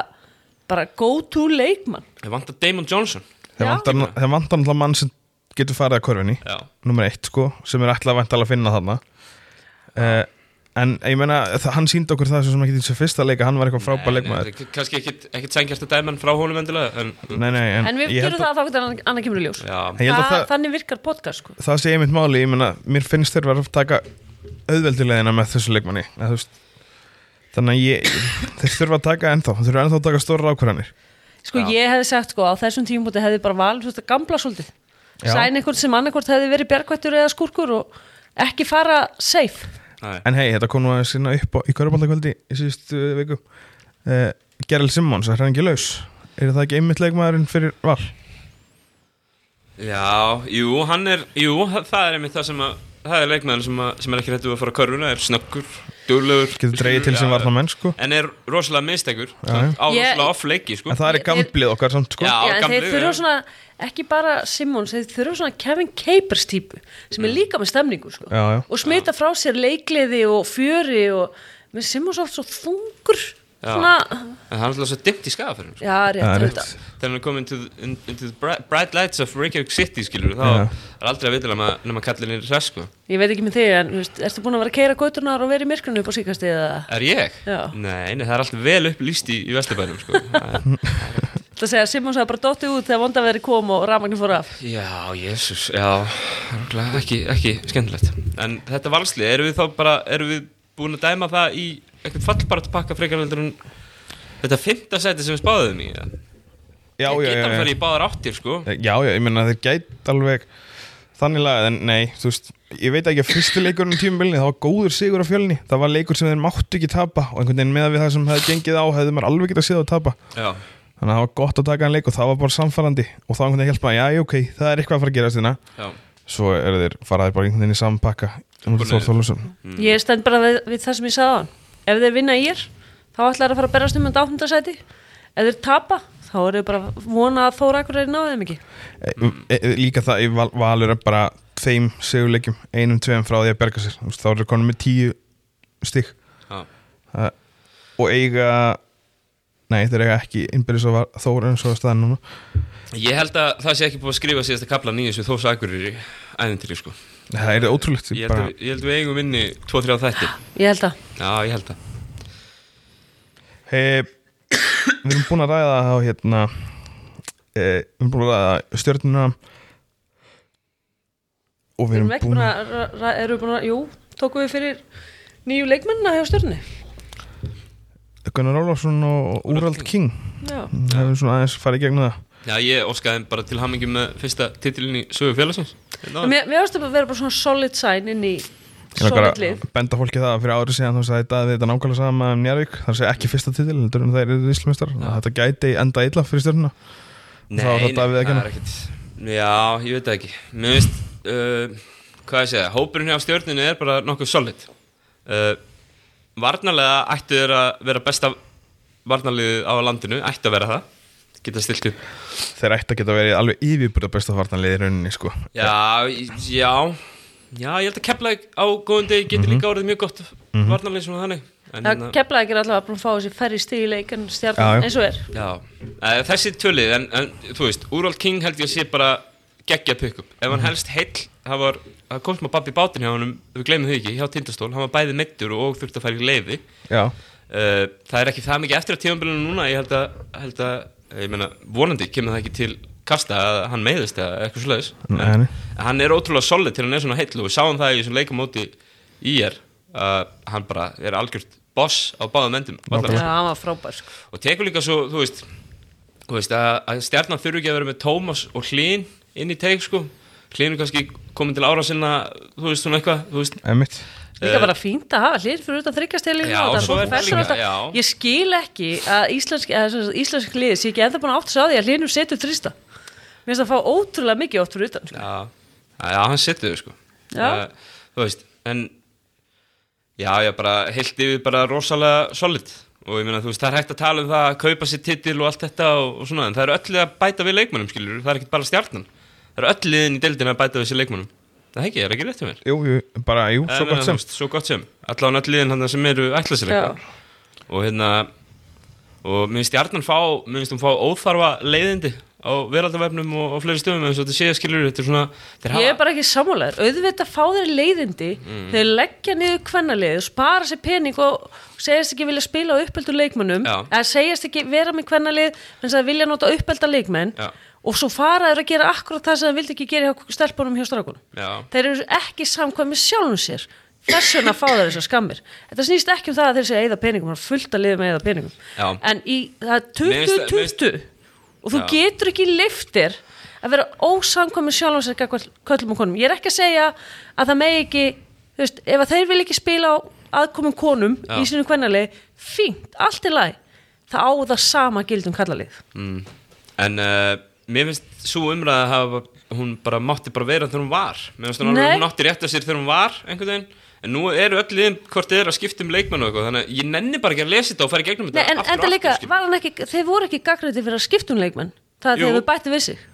bara go to leikmann þér. Þeim vantar Damon Johnson Þeir Já. vantar þeir vantar náttúrulega mann sem getur farið að körfinni Já, nummer eitt sko, sem er ætlað væntalega að finna þarna uh, en ég meina þa- hann síndi okkur það svo sem ekki þessu fyrsta leika, hann var eitthvað frábæð Nei, leikmaður nei, þetta er kannski ekkit, ekkit sængjart að dæma hann frá honum endilega en, nei, nei, en, en við ég, held gerum að, það að þá hvernig annar, annar kemur í ljós Já, ég held að Þa, það, þannig virkar podcast sko. það, sé einmitt máli ég meina, mér finnst þeir vera að taka auðveldilegina með þessu leikmanni eða, þú veist, þannig að ég, þeir þurfa að taka ennþá þeir þurfa ennþá að taka stóra ákvarðanir sko ég hefði sagt sko á þessum tímúti hefði bara val þú veist, að gamla svolítið Já. sæn einhvern sem annarkvort hefði verið bjargvættur eða skúrkur og ekki fara safe nei, en hei, þetta kom nú að sinna upp á, í Körbaldakvöldi í síðustu uh, viku uh, Gerald Simmons, er hann ekki laus? er það ekki einmitt leikmaðurinn fyrir val? já, jú, hann er jú, þa- það er einmitt það sem að það er leikmaður sem, að, sem er ekki hættu að fara að körfuna er snöggur, duglegur getur dreigið til sem Já, var það menn sko en er rosalega miðstekur á já. Ég- rosalega off leiki sko. En það er Ég- gamblið okkar samt sko Já, Já, en gamli, þeir þurfa já. svona, ekki bara Simmons, þeir þurfa svona Kevin Capers típu sem er líka með stemningu sko. Mm. Já, já. og smita frá sér leikliði og fjöri og með Simmons oft svo þungur Já. svona, en það er alltaf svo dimmt í skafafyrir sko. já, Það rétt, er rétt. rétt. þegar hann er komin into, the- in, into the bright, bright lights of Reykjavík City skilur, þá Já. er aldrei að vita nema, nema kallin er hress sko. Ég veit ekki með þig, en þú veist, ertu búin að vera að keira gauturnar og vera í myrkrinu upp á síkast eða er ég? Já. Nei, nei, það er alltaf vel upplýst í, í Vesturbænum sko. Það er- Það segja að Simmons hafa bara dottið út þegar vondaveðri kom og rafmagnin fór af Já, jésus, já, örugglega ekki, ekki skemmtilegt. En þetta valsli, erum við þá bara, erum við búin að dæma það í eitthvað fallbart pakka frekar heldur en þetta fymta seti sem við spáðum í? eða? Já, já, Ég Geta já, hann já. fyrir í báðar áttir, sko. já, já, ég meina þeir gæt alveg þannig lagað, en nei, þú veist ég veit ekki að fyrsti leikurinn um tímubilni það var góður sigur á fjölni, það var leikur sem þeir máttu ekki tapa og einhvern veginn með við það sem hefði gengið á hefði maður alveg getað séð að tapa Já, þannig að það var gott að taka hann leik og það var bara samfarrandi og þá einhvern veginn hjálpa, já, já, ok, það er eitthvað að fara að gera stina, já, svo eru þeir faraðir bara einhvern veginn í sampakka um Bara Þór niður. Þorlússon Ég stend bara við, við það sem ég sagði á hann Ef þeir vinna ír, þá ætlar að fara að berast um þetta áttundasæti Ef þeir tapa, þá eru þeir bara að vona að Þóra akkur er náðið mikið E- e- e- líka það í val, valur er bara tveim seguleikjum, einum, tveim frá því að berga sér Þú veist, þá eru þeir konum með tíu stig já. Það- og eiga nei, þeir eiga ekki innbyrðis og var þóra eins og að staðan núna Ég held að það sé ekki búið að skrifa síðasta kapla nýjum sem þó sakurir í æðintilíu, sko. það er ótrúlegt ég, Ég held, bara, að, við- ég held að við eigum inni 2-3 þætti. Ég held að Já, ég held að. hey, við erum búin að ræða þá hérna e, við erum búin að ræða stjörnuna og við erum Erum við ekki búin búin að að, ra- ra- erum við búin að, jú, tókum við fyrir nýju leikmennina hjá stjörni Gunnar Ólafsson og Úrald King Já, það hefur svona aðeins farið í gegnum það Já, ég óskaði þeim bara til hamingjum með fyrsta titilin í sögu félagsins. Hérna áður. mér mér varst að vera bara svona solid sign inn í Ég vil solid lið bara benda fólki það að fyrir árið síðan þá sagði Davíð þetta nákvæmlega sama um Njarvík þar segja ekki fyrsta titil, heldur en þeir eru íslumistar þetta gæti enda illa fyrir stjörnuna Nei, Þá er það Davíð að kenna. er ekkert Já, ég veit það ekki Mér finnst, uh, hvað ég segja Hópurinn hjá stjórninu er bara nokkuð solid uh, Varnarlega ættu þeir að vera besta varnarlið á landinu, ættu að vera það Geta stilt upp þeir ætti að geta verið alveg yfirburða besta vartanlið í rauninni sko Já, í- já Já, ég held að kepla á góðum degi Mhm. geti líka árið mjög gott varnarlið svona þannig En hérna- Keflaði ekki allavega búin að fá þessi færri stig í leik en Já, já. stjarnan eins og er Já, eh, þessi tölið en, en þú veist, Úrald King held ég að sé bara geggja pökkum, ef Mhm. hann helst heill það var, það komst maður babbi bátinn hjá hann við gleymum þau ekki, hjá Tindastól, hann var bæði meittur og þurfti að fara í leiði já, uh, það er ekki það mikið eftir að tíðanbílunum núna ég held að, held að eh, ég meina, eh, vonandi kemur það ekki til kasta að hann meiðist eða eitthvað svoleiðis Nei, En- nei. en hann er ótrúlega solid til hann er svona heill og við sáum það í þessum leikamóti í er að hann bara er algjört boss á báðum endum vallarins Já, hann var frábær sko. og tekur líka svo, þú veist, þú veist að, að stjarnan þurfi ekki að vera með Tómas og Hlín inn í teik sko Hlín er kannski komin til ára sinna þú veist svona eitthvað, þú veist Einmitt. Líka Eh. bara fínt að hafa hlýr fyrir utan þryggjastelinu Já, svo er það líka, já. Ég skil ekki að íslensk, að, að, íslensk liði sé ekki enda búin að átt sig á því að hlýrnum setur þrista Mér finnst það að fá ótrúlega mikið oft fyrir utan sko. já, já, já, hann setur þau sko Já. Eh, þú veist, en já, já, bara heilt yfir bara rosalega solid og ég meina, þú veist, það er hægt að tala um það að kaupa sér titil og allt þetta og, og svona, en það eru öll að bæta við leikmannum, skilur, það er ekkert bara stjarnan það eru öll liðin í deildin að bæta við sér leikmannum það er ekki, er ekki rétt hjá mér Jú, jú, bara, jú, svo Nei, gott nei, sem þú veist, svo gott sem allan öll liðin hann sem eru ætlaðsilega Já. og hérna og minnst Jarnan fá, minnst hún fá óþarfa leiðindi á veraldarvefnum og, og fleiri stöðum eins og þetta sé skilur þetta er svona þeir Ég er bara ekki sammálaður, auðvitað fá þeir leiðindi Mm. þeir leggja niður kvennaliðið spara sér pening og segjast ekki vilja spila á uppeldu leikmönnum Já. eða segjast ekki vera með kvennalið en það vilja nota uppelda leikmenn Já. og svo fara þeir að gera akkurat það sem þeir vildi ekki gera hjá stelpunum hjá strákunum Já. þeir eru ekki samkvæmið sjálfum sér þess vegna fá þeir þessar skammir þetta snýst ekki um það að þeir segja eða peningum það er fullt að liða með eða peningum Já. en í, það er Mér finnst- mér 2020 og þú Já. getur ekki leiftir að vera ósamkvæmið sjálfum sér gagnvart köllum og konum ég er ekki að segja að það megi ekki þú veist, ef að þeir vil ekki spila á aðkomum konum Já. í sinu kvennalið fínt, allt í lagi það á það sama um gildum kallalið en uh, mér finnst svo umræða að hafa, hún bara mátti bara vera þegar hún var mér finnst hún alveg, Nei. hún átti rétt af sér þegar hún var einhvern veginn en nú eru öll liðin hvort þið eru að skipta um leikmenn og eitthvað þannig að ég nenni bara ekki að lesa þetta og fara í gegnum Nei, þetta en, aftur en það og líka, aftur, skilur. var hann ekki, þeir voru ekki gagnröndi fyrir að skipta um leikmenn það að Jú. þeir hefur bætti við sig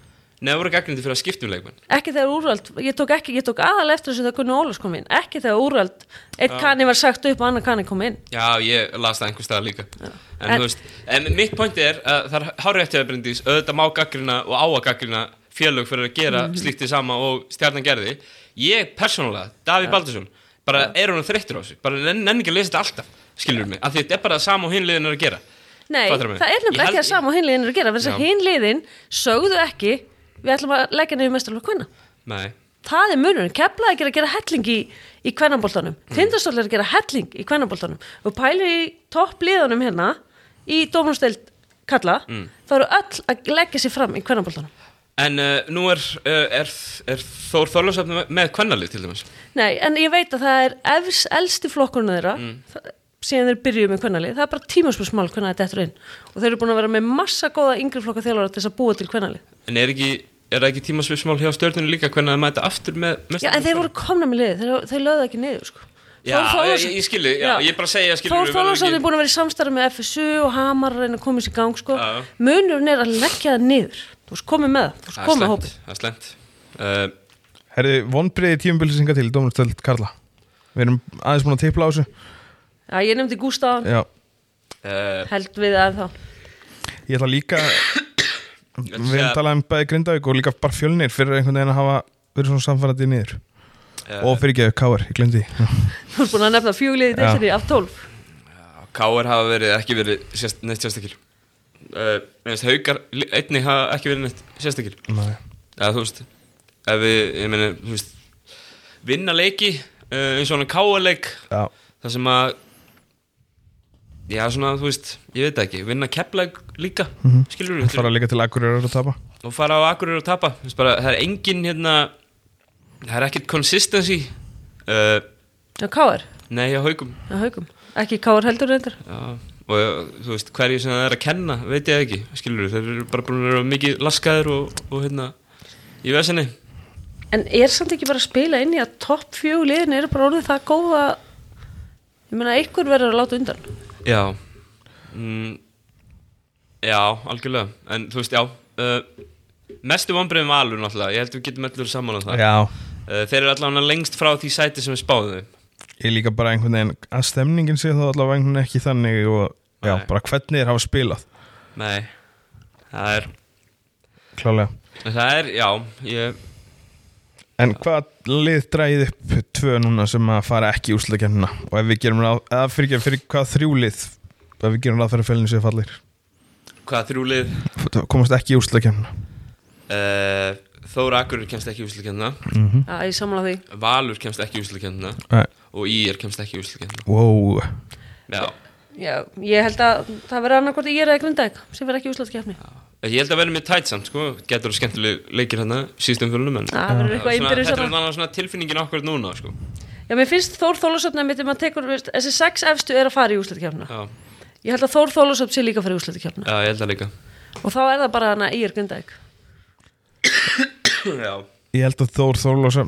Nei, það voru gegnum þetta fyrir að skipta um leikmenn ekki þegar úrvald, ég tók, ekki, ég tók aðal eftir þessu þegar Gunnar Ólafs kom inn, ekki þegar úrvald einn kanni var sagt upp og annar kanni kom inn Já, ég las það einhvers staðar líka en, En- þú veist, en mitt point er að það er hárétt hjá Bryndís, auðvitað má gaggrina og á að gaggrina félög fyrir að gera Mhm. slíkt því sama og stjarnan gerði ég persónulega, Davíð Baldursson bara er hún þreyttur á þessu, bara nenn, nenn ekki að lesa þetta alltaf, skilur mig, af því þetta er bara það sama og hinliðin er að gera Nei, Fattar mig? það er Ég nefnilega held- ekki að sama og hinliðin er að gera fyrir þess að Já. hinliðin sögðu ekki við ætlum að leggja nefnum mestarlega hvenna Nei, það er munurinn, keflaði ekki að gera helling í, í kvennabóltanum, Mm. tindastóll er að gera helling í kvennabóltanum og pælu í toppliðunum hérna í dómumsteld kalla Mm. þá eru öll að leggja sér fram í kvennabóltanum en uh, nú er, uh, er, er Þór Þorlásöfn með kvennalið til dæmis Nei, en ég veit að það er efs, elsti flokkurinn þeirra Mm. það, síðan þeir byrjuðu með kvennalið, það er bara tímaspörsmál hvernig þetta eftir inn og þeir eru búin að vera með massa góða yngri flokka þjálfara til þess að búa til kvennalið en er ekki, er það ekki tímasvismál hjá stjörnunum líka hvernig að mæta aftur með Já, en þeir voru komna með liðið, þeir, þeir lögðu ekki niður sko. Já, Þór Þórðarson- ég- ég skil þig, já, ég er bara að segja, skilur Þór við, við verðum Þórðarsson ekki- er búin að vera í samstarf með FSU og Hamar að reyna að koma þessi í gang sko. Já, já. munurinn er að leggja það niður þú veist, komið með það, þú veist, Það er komið slæmt, hópið það er slæmt uh, Herði, vonbreiði tímubilsinga til Dómarstöld Karla Við erum aðeins búin að tipla á þessu Já, ég nefndi Gústafan, Já, uh, held við að þá ég ætla líka Við erum talað um bæði Grindavík og líka bara fjölnir fyrir einhvern veginn að hafa verið svona samfærandi niður Og fyrir ekki að káar, ég glemdi Þú ert búin að nefna fjögliðið Já. þessari af tólf K.R. hafa verið ekki verið sérst, neitt sérstakil uh, minnst haukar li- einnig hafa ekki verið neitt sérstakil eða þú veist ef við, ég meni, þú veist vinna leiki uh, eins og hann K.R. leik Já, þar sem að já svona, þú veist, ég veit það ekki vinna keppleik líka, skilur við fara líka til Akureyrar að tapa og fara á Akureyri og tapa Þú veist bara, það er engin hérna það er ekkert consistency uh, Já, Káar, nei, hjá haukum já, haugum ekki Káar heldur reyndar Já, og já, þú veist, hverju sem það er að kenna veit ég ekki, skilur þeir eru bara búin að vera mikið laskaður og, og hérna í vesinni En er samt ekki bara að spila inn í að topp fjögur liðin eru bara orðið það góða ég meina, einhver verður að láta undan já mm, já, algjörlega en þú veist, já uh, mestu vonbreiðum valur náttúrulega, ég held við getum allir saman á það uh, Já, þeir eru allavega lengst frá því sæti sem við spáðum þeim. ég líka bara einhvern veginn að stemningin sé þá allavega einhvern veginn ekki þannig og já, Nei. bara hvernig þeir hafa spilað nei, það er klálega. það er, já ég, En hvað lið dræðið upp tvö núna sem að fara ekki í úslakefnina og ef við gerum ráð, eða fyrir, ekki, fyrir hvað þrjúlið ef við gerum ráð fyrir félginn sem fallir hvað þrjúlið komast ekki í úslakefnina uh, Þóra Akurur kemst ekki í úslikendina Já, ég samla því Valur kemst ekki í úslikendina Nei. og Ír kemst ekki í úslikendina Wow Já, Já, ég held að það verði annarkvort ég er eða grindæk sem verði ekki úslandskefni ég held að vera með tætt samt sko, getur þú skemmtileg leikir hérna síðustum fjölunum en Það verður eitthvað Svona- innbyrðis Þetta er þannig svona tilfinningin okkur núna sko. Já, mér finnst Þór Þólasöfn að maður tekur, veist, þessi sex efstu er að fara í úslandkefna Já, Ég held að Þór Þólasöfn sé líka að fara í úslandkefna já, ég held að líka og þá er það bara hana ég er grindæk Já, Ég held að Þór Þórlósa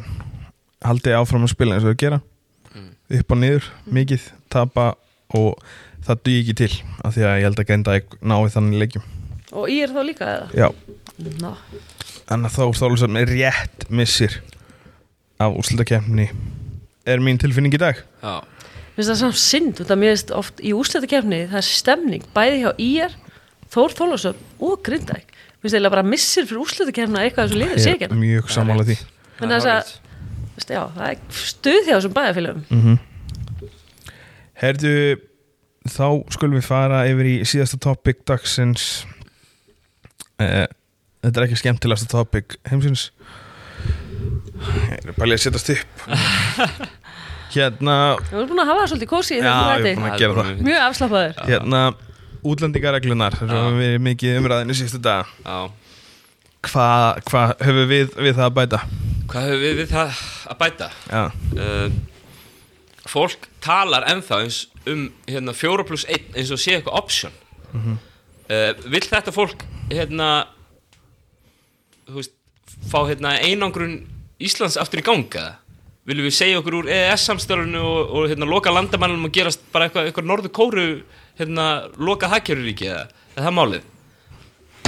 haldi áfram að spila eins og þau gera upp og niður, mikið, tapa og það dugi ekki til af því að ég held að grinda að náði þannig leikjum og ég er þá líka eða Já, Ná. en að Þór Þórlósa er rétt missir af úrslutakefni er mín tilfinning í dag já, finnst það samt synd út að mér finnst oft í úslandkefni það er stemning bæði hjá IR, Þór Þólasöfn og grindæk finnst það bara missir fyrir úslandkefna eitthvað þessu liðið sé Ég ekki hérna. er mjög sammála því það Þannig að er þess hárrétt. Veist, Já, það er stuð hjá þessum bæjarfélagum Mm. Herðu, þá skulum við fara yfir í síðasta topic dagsins eh, Þetta er ekki skemmtilegasta topic heimsins Ég er bara að setjast upp Hérna, Við erum búin að hafa það svolítið kósi í Já, þessum ég er þætti búin að Það gera er það. mjög- Mjög afslappaður hérna útlendingareglunar sem hafa verið mikið umræðinu síðustu daga Já, Hvað hva höfum við við það að bæta? hvað höfum við við það að bæta? Já, uh, fólk talar ennþá eins um hérna, 4 pluss 1 eins og sé eitthvað option uh, vill þetta fólk hérna þú veist, fá hérna einangrun Íslands aftur í ganga viljum við segja okkur úr EES samstörunu og, og hérna loka landamælunum og gerast bara eitthvað, eitthvað norðu kóru hérna loka hagkjöruríki eða er það málið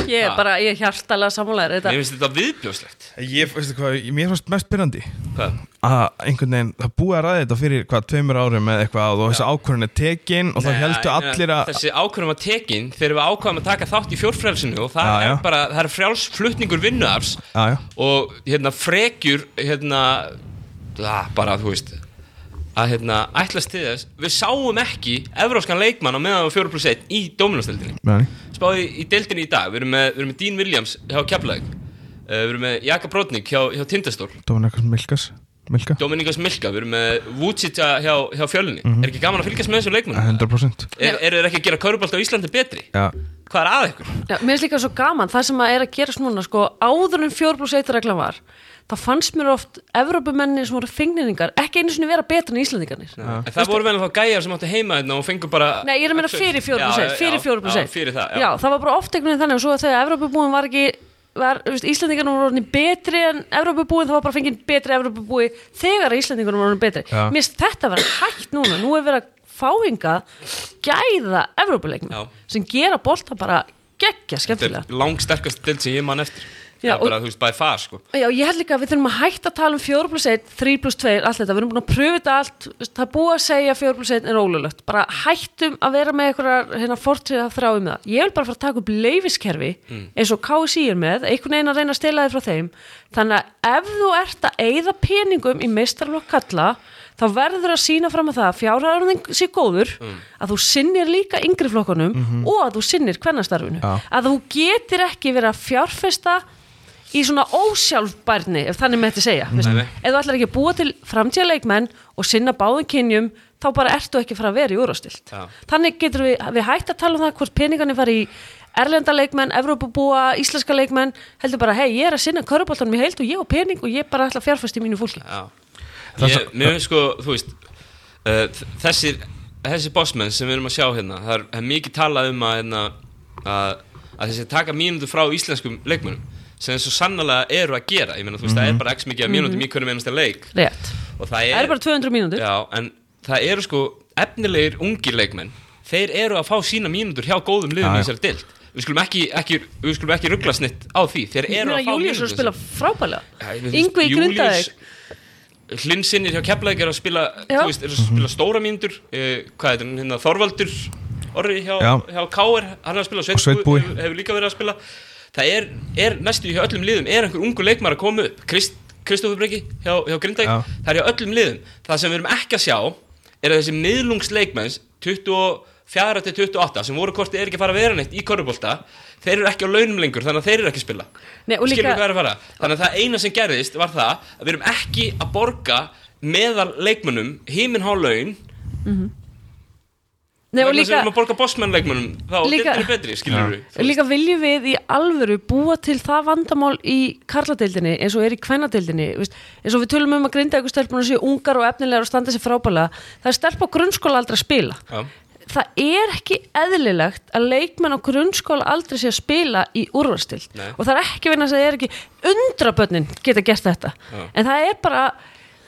Ég er Ha. bara, ég er hjartalega sammálaður mér Þetta, finnst þetta viðbjóðslegt ég, veistu hvað, mér fannst mest byrjandi hvað? að einhvern veginn, það búið að ræða þetta fyrir hvað, tveimur árum eða eitthvað og þessi ákvörðin er tekin og þá Nei, heldur nei, allir að Þessi ákvörðum að tekin þegar við ákvæðum að taka þátt í fjórfrælsinu og það Já, já. er bara, það er frjálsflutningur vinnuafs Já, já. og hérna frekjur hérna, það bara þú veist að hérna ætlast til þess við sáum ekki evróskan leikmann á meðan á 4 plus 1 í dominastildinni Nei. spáði í deildinni í dag, við erum með, við erum með Dean Williams hjá Keflæk við erum með Jakob Rodnik hjá, hjá Tindastól Dominikas Milkas Milka, Dominikas Milka, við erum með Vucic hjá, hjá fjölunni, Mhm. er ekki gaman að fylgjast með þessum leikmann 100% er, er þeir ekki að gera kaurubalt á Íslandi betri? Eh, Já, Hvað er að ykkur? já, mér finnst líka svo gaman Það sem að er að gerast núna, sko Áður en 4 pluss 1 reglan var þá fannst mér oft Evrópumennin sem voru fengliningar ekki einu sinni vera betur en Íslandingarnir En það voru vel þá gæjar sem áttu heima hérna og fengur bara Nei, ég er að meina fyrir 4 pluss 1 Fyrir 4 pluss 1 Já, fyrir það, já. það var bara oft einhvern veginn þannig og svo að þegar Evrópubúin var ekki var, þú veist, Íslandingarnir voru orðin betri en Evrópubúin, það var bara fengið betri Evrópubúi þegar að Íslandingarnir voru orðin betri Já. Mér finnst þetta vera hægt núna, nú er verið að fáinga gæða Já. Evrópuleikmenn sem gera bolta bara geggja skemmtilega Þetta er langsterkast dild sem ég man eftir Já, Já, og- bara, þú veist, bæði far, sko Já, ég held líka að við þurfum að hætta að tala um 4 plus 1, 3 plus 2, allt þetta, við erum búin að pröfu þetta allt, þú veist, það er búið að segja 4 plus 1 er ólulegt, bara hættum að vera með einhverjar hérna, fortriða þráum það. Ég vil bara fara að taka upp leifiskerfi eins og KSI er með, einhvern veginn að reyna að stela þið frá þeim, þannig að ef þú ert að eyða peningum í meistarlokk kalla, þá verður að sína fram að það að fjárhæðurinn þinn sé góður, að þú sinnir líka yngri flokkunum og að þú sinnir kvennastarfinu, Já. að þú getir ekki verið að fjárfesta í svona ósjálfbærni ef þannig með þetta segja veist, Nei, nei. ef þú ætlar ekki að búa til framtíðarleikmenn og sinna báðum kynjum þá bara ertu ekki að fara að vera í úrvastilt Já. þannig getur við, við hægt að tala um það hvort peningarnir fara í erlenda leikmenn, Evrópubúa, íslenska leikmenn heldur bara, hei, ég er að sinna köruboltanum í heild og ég á pening og ég bara ætla að fjárfæst í mínu fólki Já Það- ég, Mér finnst, sko, þú veist uh, Þessir, þessi bossmenn sem við erum að sjá hérna Það er, það er mikið talað um að, hérna, að, að þessi taka mínútur frá íslenskum leikmönnum sem svo sannlega eru að gera Ég meina, þú veist, Mhm. það er bara x mikið af mínútum í hverjum einasta leik rétt, Og það Mhm. það eru bara 200 mínútur Já, en það eru sko efnilegir ungir leikmenn þeir eru að fá sína mínútur hjá góðum Já, liðum í já. þessari dild við skulum ekki, ekki, við skulum ekki ruggla snitt á því þeir eru að fá Július er að spila mínútur Já, frábælega ég veit, Yngvi Júlíus- Grundaðeg hlinsinnir hjá Keflæk er að spila Já. þú veist, er að spila stóra mínútur eh, hvað er þetta, hérna Þorvaldur Orri hjá, Já. hjá Káir, hann er að spila og Sveitbúi. Sveitbúi hefur, hefur líka verið að spila það er, er næstu hjá öllum liðum er einhver ungu leikmar að koma upp Krist, Kristofur Breki hjá, hjá Grindæk Já. það er hjá öllum liðum, það sem við erum ekki að sjá er að þessi miðlungsleikmenns 25, 4 til 28 sem voru kortið er ekki að fara að vera neitt í korfubólta þeir eru ekki á launum lengur þannig að þeir eru ekki að spila Nei, og líka- Skilurðu hvað er að fara þannig að það eina sem gerðist var það að við erum ekki að borga meðal leikmönnum himinhá laun Nei, og vegna sem við líka, erum að borga bossmenn leikmönnum þá Líka- er betri skilur við og líka viljum við í alvöru búa til það vandamál í karladeildinni eins og er í kvennadeildinni veist, eins og við tölum um að grinda ykkur stelpunar séu ungar og efnilegar og standa sér frábæla það er stelpa á grunnskóla aldrei að spila Já. það er ekki eðlilegt að leikmenn á grunnskóla aldrei sé að spila í úrvarstild Nei. og það er ekki vegna þess að það er ekki undrabönnin geta gert þetta en það er bara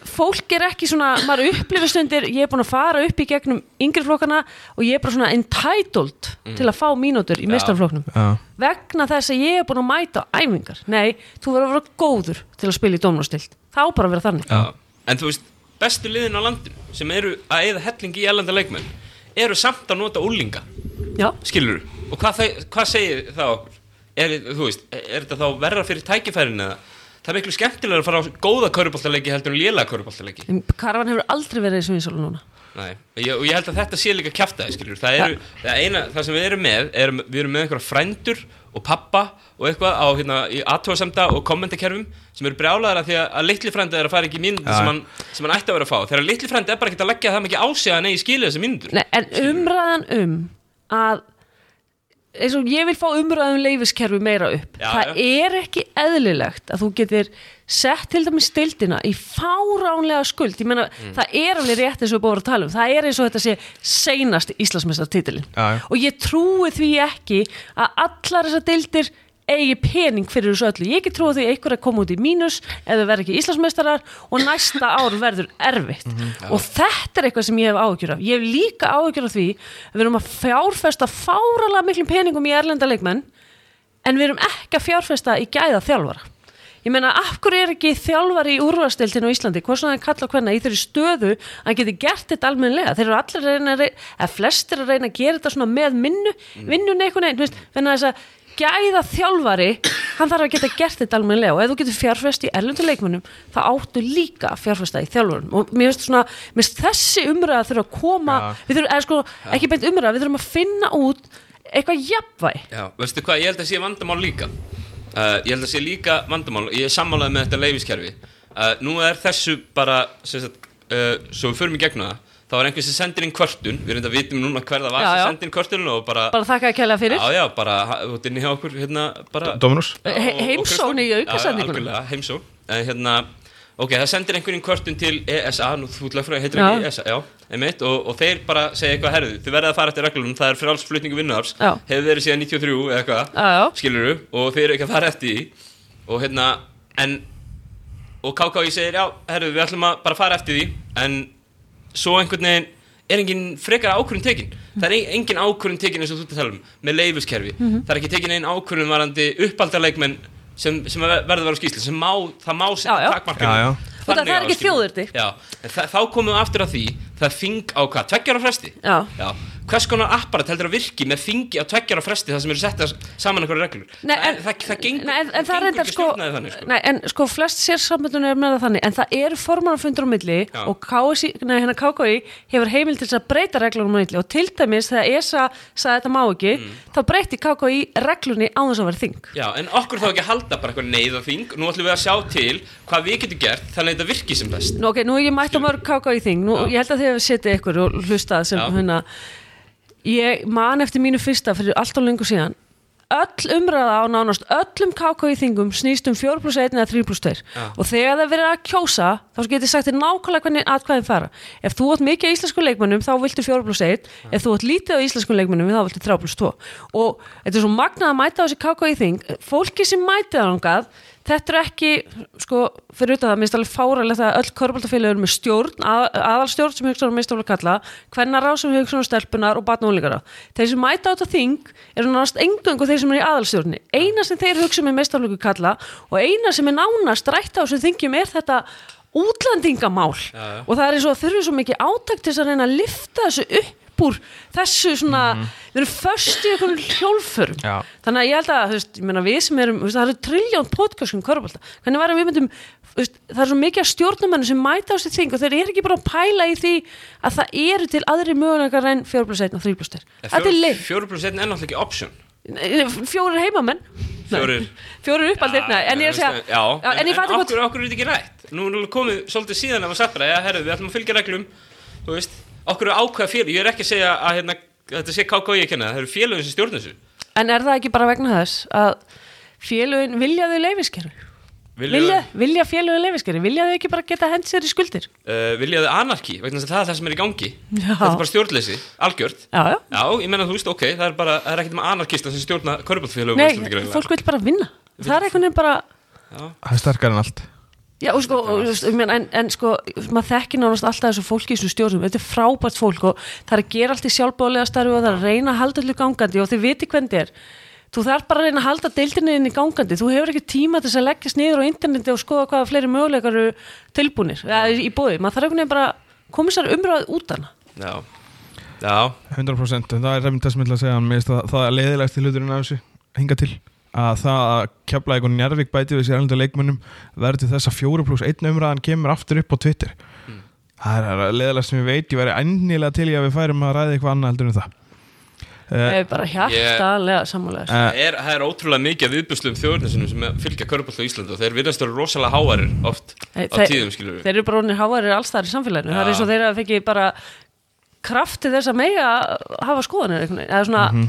fólk er ekki svona, maður upplifir stundir ég er búin að fara upp í gegnum yngri flokkana og ég er bara svona entitled til að fá mínútur í mistarflokknum Já. vegna þess að ég er búin að mæta á æfingar, nei, þú verður að vera góður til að spila í domnastild, þá bara að vera þannig Já. En þú veist, bestu liðin á landinu sem eru að eyða hellingi í erlenda leikmenn eru samt að nota úlinga já, skilur og hvað, þau, hvað segir það okkur er, þú veist, er þetta þá verra fyrir tækifærin eða það er miklu skemmtilega að fara á góða kauruboltaleiki heldur en lélega kauruboltaleiki karvan hefur aldrei verið eins og eins og núna Nei, ég, og ég held að þetta sé líka kjaftaði skilur það, eru, það, eina, það sem við erum með er, við erum með einhverja frændur og pappa og eitthvað á hérna, aðtóðasemda og kommentakerfum sem eru brjálæðara því að, að litli frændi er að fara ekki mínútur sem, hann- sem hann ætti að vera að fá þegar litli frændi er bara ekki að leggja það mikið á sig að hann eigi skilja þessi mínútur Nei, en umræðan um að eins og ég vil fá umræðan um leifiskerfi meira upp Já, það er ekki eðlilegt að þú getur sett til dæmis stildina í fáránlega skuld ég meina, Mm. það er alveg rétt eins og við búum að tala um það er eins og þetta sé seinast Íslandsmestartitilin Já, já. og ég trúi því ekki að allar þessar dildir eigi pening fyrir þessu öllu ég ekki trúi því að einhverja koma út í mínus eða verð ekki Íslandsmeistarar og næsta ár verður erfitt Mhm, og þetta er eitthvað sem ég hef áhyggjur af ég hef líka áhyggjur af því að við erum að fjárfesta fáralega miklum peningum í erlenda leikmenn en við erum ekki að fjárfesta í gæða þjálfara ég meina, af hverju er ekki þjálfari í úrvarstildinu á Íslandi, hvað svona hann kalla hvernig í þeirri stöðu að hann geti gert þetta almennilega, þeir eru allir að reyna að reyna eða flestir að reyna að gera þetta svona með minnu vinnunni einhvern veginn, þú veist, þannig að þess að gæða þjálfari, hann þarf að geta gert þetta almennilega og ef þú getur fjárfest í erlendu leikmönnum, þá áttu líka að fjárfesta í þjálfurum og mér finnst svona mér finnst þessi umræða þurfa að koma við þurfum, eða sko, ekki beint umræða, við þurfum að finna út eitthvað jafnvæg Já, veistu hvað, ég held að sé vandamál líka uh, Ég held að sé líka vandamál Ég er sammálaði með þetta leifiskerfi uh, Nú er þessu bara sem sagt, uh, Svo við förum í gegnum það þá var einhver sem sendir inn kvörtun Við erum þetta vitum núna hver það var Já, já. sem sendir inn kvörtunum Og bara, bara þakka að kæla fyrir já, já, bara ha- Þú ert inn hjá okkur hérna bara, Dominus Já, og- og heimsókn Kristján. í Já, aukasendingunum. já, algjörlega, heimsókn En hérna, ok, það sendir einhverjum kvörtun til ESA, nú þú lagfræði heitir Já. ekki ESA, já, einmitt og, og þeir bara segja eitthvað herðu, þið verðið að fara eftir reglunum það er frálsflutningu vinnuafs, Já. hefur verið síðan 93 eða Já, já. eitthvað, skilur þú og þeir eru ekki að fara eftir því og hérna, en og KKI segir, já, herru, við ætlum að bara fara eftir því en svo einhvern veginn er engin frekar ákvörðun tekin það er ein- engin ákvörðun tekin eins og þú ert að tala um með leifiskerfi, Mhm. það er ekki tekin einn ákvörðun varandi uppaldarleikmenn sem, sem að ver- verður að vera á skýslu, sem má það má Já, já. setja Já, já. takmarkinu Og það- það er ekki þjóðurdi. Já, en þa- þá komum við aftur að því það þing á hvað, tveggjara fresti Já. hvers konar apparat heldur að virki með þingi á tveggjara fresti það sem eru settar saman einhverju reglur Nei, það, er- það, það gengur, nei, en, en það gengur reyndar ekki sko, stjórnaði þannig sko. Nei, en sko flest sér samböndun er með það þannig en það eru formanfundur á milli Já. og KSI, nei, hérna KKI hefur heimil til þess að breyta reglunum á milli og til dæmis þegar ESA sagði þetta má ekki Mm. þá breytti KKI reglunni á þess að vera þing Já, en okkur þá ekki að halda bara eitthvað neyðaþing Nú ætlum við að sjá til hvað við getum gert þannig að þetta virki sem best Nú, ok, nú er ég mætt á mörg KKI þing nú, Já. ég held að þið hefur setið ykkur og hlustað sem Já. hérna ég man eftir mínu fyrsta fyrir allt á lengur síðan öll umræða á nánast öllum KKI þingum snýst um 4 pluss 1 eða 3 pluss 2 og þegar það er verið að kjósa þá getið sagt þér nákvæmlega hvernig atkvæðin fara ef þú átt mikið af íslenskum leikmönnum þá viltu 4 pluss 1 ef þú átt lítið af íslenskum leikmönnum þá viltu 3 pluss 2 og þetta er svo magnað að mæta á þessi KKI þing fólki sem mætið þangað þetta er ekki, sko, fyrir utan það minnst alveg fáralegt að öll körbaldafélögur með stjórn, að, aðalstjórn sem hugsaður minnst alveg kalla, hvernará sem hugsaður stelpunar og batn og úlíkara. Þeir sem mæta á þetta þing eru nánast engöngu þeir sem eru í aðalstjórni. Eina sem þeir hugsa með mest alveg kalla og eina sem er nánast rætt á þessu þingjum er þetta útlendingamál já. og það er eins og að þurfi svo mikið átak til þess að reyna að lifta þessu upp upp úr þessu svona, Mhm. við erum först í einhvern hjólfurum Já. þannig að ég held að, þú veist, ég meina við sem erum þú veist, það eru triljón podcast um korfbalta hvernig varum við myndum, þú veist, það er svo mikið af stjórnumennu sem mæta á sér þing og þeir eru ekki bara að pæla í því að það eru til aðri möguleikar en 4 plus 1 og 3 plus 2 þetta er leik, 4 plus 1 er náttúrulega ekki option fjórir heimamenn Fjórir. fjórir uppaldir, nei, en ég er að segja Já, já, en ég fatta okkur, okkur, hvað okkur er þetta ekki rætt Nú er komið svolítið síðan að maður satt bara Já, herru, við ætlum að fylgja reglum Þú veist, okkur er ákvað fyrir Ég er ekki að segja að hérna, þetta sé KK ég kenna Það eru félögum sem stjórnum þessu En er það ekki bara vegna þess að félögin vilja þau leifiskerfi? Vilja, vilja félögin leifiskerfi? Vilja þau ekki bara geta hend sér í skuldir? uh, viljaðu anarki vegna þess að það er það sem er í gangi Já. þetta er bara stjórnleysi, algjört Já, já. já, ég menna þú veist, ok, það er bara það er ekkert um anarkista sem stjórna körbáttfélögum Nei, fólk vil bara vinna. Það er einhvern veginn bara... Það er starkar en allt Já, og sko, og, og, og, en, en sko, maður þekkir nánast alltaf þessu fólki í þessu stjórnum, þetta er frábært fólk og það er að gera allt í sjálfbóðlega starfi og það er að reyna að halda allir gangandi og þið viti hvernig þetta er. Þú þarf bara að reyna að halda deildinni inn í gangandi, þú hefur ekki tíma til þess að leggjast niður á interneti og skoða hvaða fleiri möguleikar eru tilbúnir ja, í bóði. Maður þarf einhvern veginn bara að koma sér umræð út hana. já, já, 100% en það er reynd það sem ég ætla að segja mér finnst það, það er leiðilegst í hluturinn af þessu hinga til að það að kepla einhvern njárvík bæti við sér erlendu leikmönnum verður til þess að fjóru pluss einn umræðan kemur aftur upp á Twitter Hmm. það er leiðilegst sem ég veit ég væri ennilega til í að við færum að ræða eitthvað annað heldur en það Það Eh, er bara hjartalega sammálega. eh, það er, það er ótrúlega mikið af viðbuslum þjóðurnessinum sem fylgja körbátt á Íslandi og þeir virðast eru rosalega hávarir oft Nei, á þeir- tíðum, skilur við Þeir eru bara onir hávarir allstæðar í samfélaginu Það er Já. eins og þeir að fengi bara kraft til þess að mega hafa skoðanir einhvern veginn, eða svona mm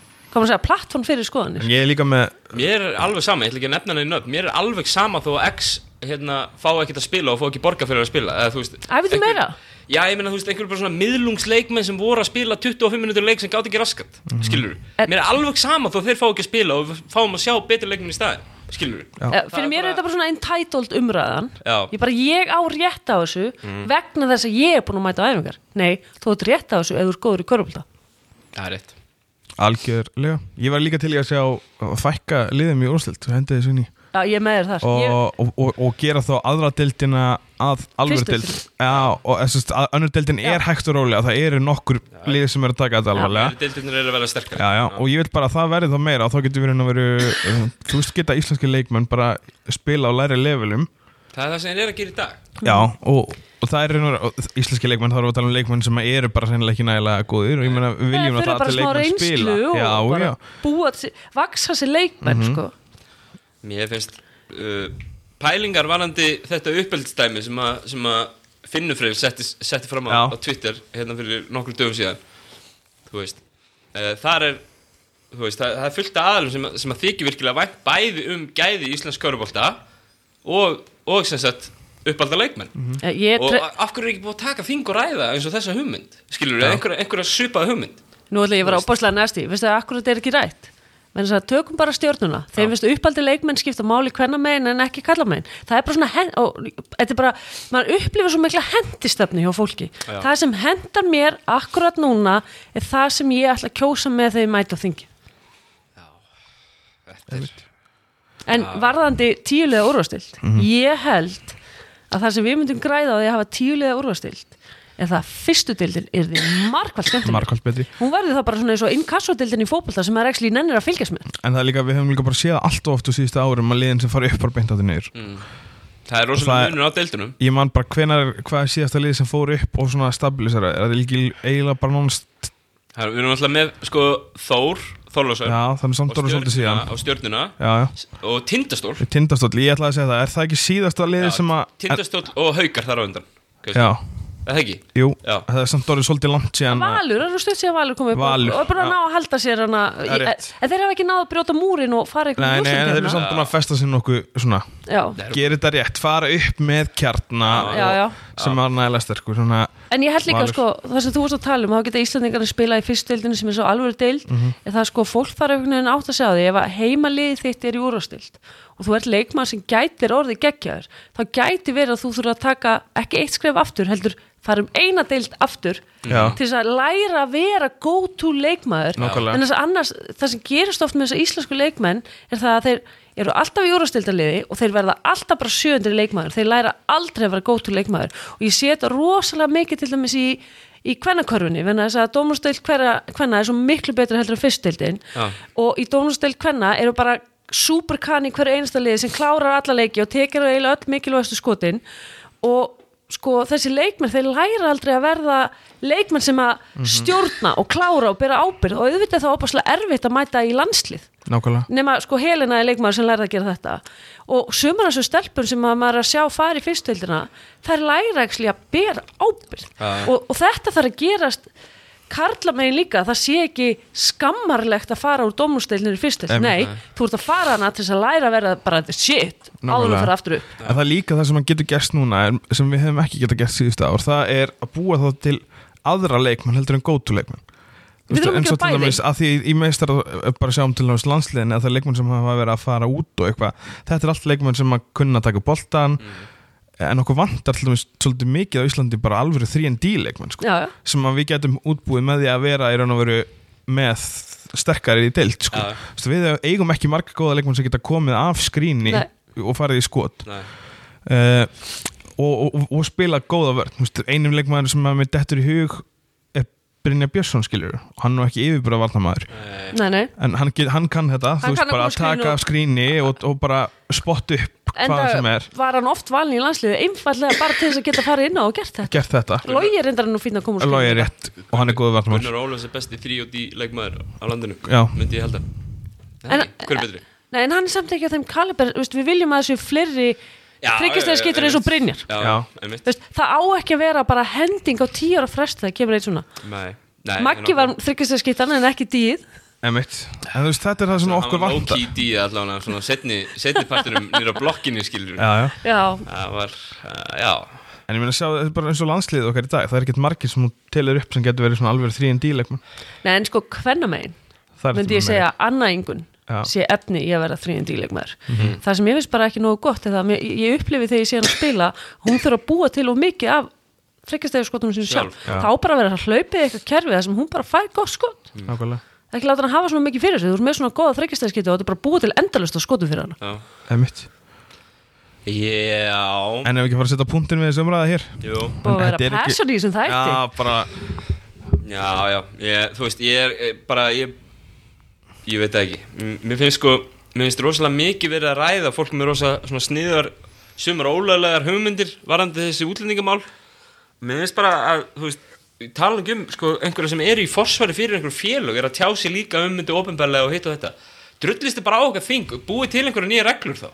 Mhm. koma að segja, plattform fyrir skoðanir en ég er líka með mér er alveg sama, ég ætla ekki að nefna neina nöfn mér er alveg sama þó að X hérna, fá ekkert að spila og fá ekki borga fyrir að spila eða, þú veist, Æfið þú einhver- meira? Já, ég meina, þú veist, einhver bara svona miðlungsleikmenn sem voru að spila 25 minútur leik sem gátt ekki raskat, Mhm. mm. skilur En- Mér er alveg sama þó þeir fá ekki að spila og við fáum að sjá betur leikmenn í staðin, skilur Eh, Það Fyrir er mér er bara- þetta bara svona entitled umræðan Já. Mhm. Ég bara, ég á rétt á þessu vegna þess að ég er búin að mæta á æfingar Nei, þú átt rétt á þessu eða þú er góður í körfulta Það er rétt algjörlega ég var líka til í að sjá að fækka liðum í úrslilt og hendi þessu inn í Já, ég er með þér þar og, ég, og, og, og gera þá aðra deildina að alvöru Fyrstu deild já, og þessast að önnur deildin er hægt og rólega það eru nokkur lið sem eru að taka þetta alvarlega Deildirnir eru að vera sterkar já, já, og ég vil bara að það verði þá meira og þá getur við raun og veru uh, þú veist geta íslenski leikmenn bara spila á læri levelum Það er það sem þeir eru að gera í dag já, og, og það er raun og veru og íslenski leikmenn, þá erum við að tala um leikmenn sem eru bara sennilega ekki nægilega góðir og ég meina við Nei, viljum að þeir eru það bara allir smá leikmenn reynslu spila já, Mhm. og bara já, búa til, vaksa sér leikmenn sko. Mér finnst uh, pælingar varandi þetta uppeldstæmi sem að, sem að Finnufreyr setti, setti fram á, Já. á Twitter hérna fyrir nokkur dögum síðan þú veist uh, þar er þú veist, það, það er fullt af aðalum sem, að- sem að þykir virkilega vænt bæði um gæði í Íslands körubolta og, og sem sagt uppalda leikmenn Mhm. Eh, Ég og tre- a- af hverju er ekki búið að taka þing og ræða eins og þessa hugmynd skilur við, einhverja, einhverja svipaða hugmynd Nú ætla ég að vera ábáslega næsti, veistu það, akkur þetta er ekki rætt menn þess að tökum bara stjórnuna þeir veistu uppaldi leikmenn skipta máli hvenna megin en ekki kalla megin, það er bara svona hen- og þetta er bara, maður upplifir svo mikla hendistöfni hjá fólki, það sem hendar mér akkurat núna er það sem ég ætla að kjósa með þegar ég mæta á þingi Þetta er en varðandi tíulega úrvastild ég held að það sem við myndum græða á því að hafa tíulega úrvastild er það að fyrstu deildin er því markvælt skemmtileg markvælt betri hún verður það bara svona eins og inkassodildin í fótbolta sem maður ekki nennir að fylgjast með en það er líka, við hefum líka bara séð allt of oft úr síðustu árum að liðin sem fari upp bara beint á þetta niður Mm. Það Það er er- rosalega munur á deildunum ég man bara hvenar, hvað er síðasta lið sem fór upp og svona stabilisera, er það ekki eiginlega bara nánast, Það er, Við erum alltaf með sko, Þór, Þorlásar já þannig samt ára svolítið síðan á stjörnuna já, já, og Tindastól tindastóll, ég ætlaði að segja það er það ekki síðasta lið sem að en- Tindastól og Haukar þar á undan kannski. já, Er Það ekki? jú, Já. það er samt ára svolítið langt síðan að- Valur, það er stutt síðan Valur komið upp Valur, og er bara að já. ná að halda sér hana Það er í- Eh, rétt. en þeir hafa ekki náð að brjóta múrin og fara eitthvað nei, nei, en þeir eru samt búin að festa sér nokkuð svona, hérna? já. gera þetta rétt fara upp með kjarna Já, og- já. sem var nægilega sterkur svona, en ég held líka Valur. sko, það sem þú varst að tala um þá geta Íslandingarnir spila í fyrstdeildinu sem er svo alveg deild, mm Mhm. það sko fólk fara einhvern veginn átt að segja því, ef að heimalið þitt er í úrvastild og þú ert leikmann sem gætir orðið geggjaður, þá gæti verið að þú þurfa að taka ekki eitt skref aftur heldur fara um eina deild aftur Já. til þess að læra að vera go to leikmaður Nákvæmlega. en þess að annars, það sem gerist oft með þess að íslensku leikmenn er það að þeir eru alltaf í úrastildaliði og þeir verða alltaf bara sjöundri leikmaður, þeir læra aldrei að vera gótu leikmaður og ég sé þetta rosalega mikið til dæmis í, í kvennakörfunni, venna þess að dómurstild kvenna er svo miklu betra heldur en fyrstildin Já. og í dómurstild kvenna eru bara superkan í hverju einasta liði sem klárar alla leiki og tekir eiginlega öll mikilvægastu skotin og sko þessi leikmenn þeir læra aldrei að verða leikmenn sem að stjórna og klára og bera ábyrð og auðvitað er það opaslega erfitt að mæta í landslið nákvæmlega nema sko Helena er leikmaður sem lærði að gera þetta og sumar þessu stelpur sem að maður er að sjá fara í fyrstöldina þær læra ekki að bera ábyrð Já. og, og þetta þarf að gerast karla megin líka, það sé ekki skammarlegt að fara úr dómustildinu í fyrstöld, Em, nei, þú ert að fara hana til þess að læra að vera bara shit áður Nákvæmlega. að fara aftur upp En það er líka það sem maður getur gert núna er, sem við hefum ekki getað gert síðustu ár það er að búa þá til aðra leikmann heldur en gótu leikmann Við þurfum ekki að bæði. að því í meistar bara sjáum til náttúrulega landsliðin eða það er leikmann sem hafa verið að fara út og eitthvað þetta er allt leikmann sem að kunna að taka boltan en okkur vantar til dæmis svolítið mikið á Íslandi bara alvöru 3D leikmann sko, já, já, sem að við getum útbúið með því að vera í raun og veru með sterkari í deilt sko. Já. Þú veist, við eigum ekki marga góða leikmann sem geta komið af skrýni Nei. og farið í skot Nei. uh, og, og, og spila góða vörn Þú veist, einum leikmaður sem að mér dettur í hug er Brynja Björnsson skilur og hann er nú ekki yfirbúra varnamaður eh, nei, nei en hann, get, hann kann þetta, Hann þú veist kann að bara að koma skrínu taka og- af skrýni og, og bara spotta upp hvað sem enda er var hann oft valin í landsliðu einfallega bara til þess að geta farið inn á og gert þetta gert þetta, Lógi er reyndar nú fín að koma úr logi skólanum. er rétt og hann er góða varnamaður Gunnar Ólafs er besti 3 og D leikmaður á landinu Já. myndi ég held að En- Nei, hver er betri? Nei, en hann er samt ekki á þeim kaliber veist, Við viljum að þessu fleiri Já, tryggjastæðskýtur einmitt. eins og Brynjar Já, Já. einmitt. veist, Það á ekki að vera bara hending á tíu ára frest þegar kemur eitt svona Nei, nei, Maggi var þryggjastæðskýtan en ekki dýð Einmitt. en þú veist, þetta er það sem okkur vantar Hann var low-key D allan að svona setni, setni partinum nýra blokkinni skilur já, já. Já, Það var, uh, já en ég meina að sjá, þetta er bara eins og landslið okkar í dag það er ekkert margir sem hún telur upp sem getur verið svona alveg 3D leikmann Nei, en sko hvernamegin Það er þetta myndi ég með- segja annaðingun Já. Mhm. sé efni í að vera þrýjendíleikmaður mm -hmm. það sem ég veist bara ekki nógu gott er það að mér- ég, ég upplifi þegar ég sé hann að spila hún þurfa að búa til og mikið af þryggjastæðarskotunum sem sjálf, Sjálf, já. þá bara vera að hlaupa í eitthvað kerfi þar sem hún bara fær gott skot Nákvæmlega. ekki láta hann hafa svona mikið fyrir sig, þú ert með svona góða þryggjastæðskipti og þetta er bara búið til endalust á skotum fyrir hana Já, Einmitt. já en ef ekki fara að setja punktin við þessu umræða hér Jú, En og þetta vera er ekki- passion í þessum þætti Já, bara já, já ég, Þú veist, ég er eh, bara ég, ég veit það ekki M Mér finnst sko, mér finnst rosalega mikið verið að ræða fólk með rosa svona sniðar sumar ólegaðar hugmyndir varandi þessi útlendingamál Mér finnst bara að, þú veist ég tala ekki um, sko, einhverja sem eru í forsvari fyrir einhverjum félög, er að tjá sig líka um myndi ofinbarlega og hitt og þetta drullist þið bara á okkar þing, búið til einhverja nýja reglur þá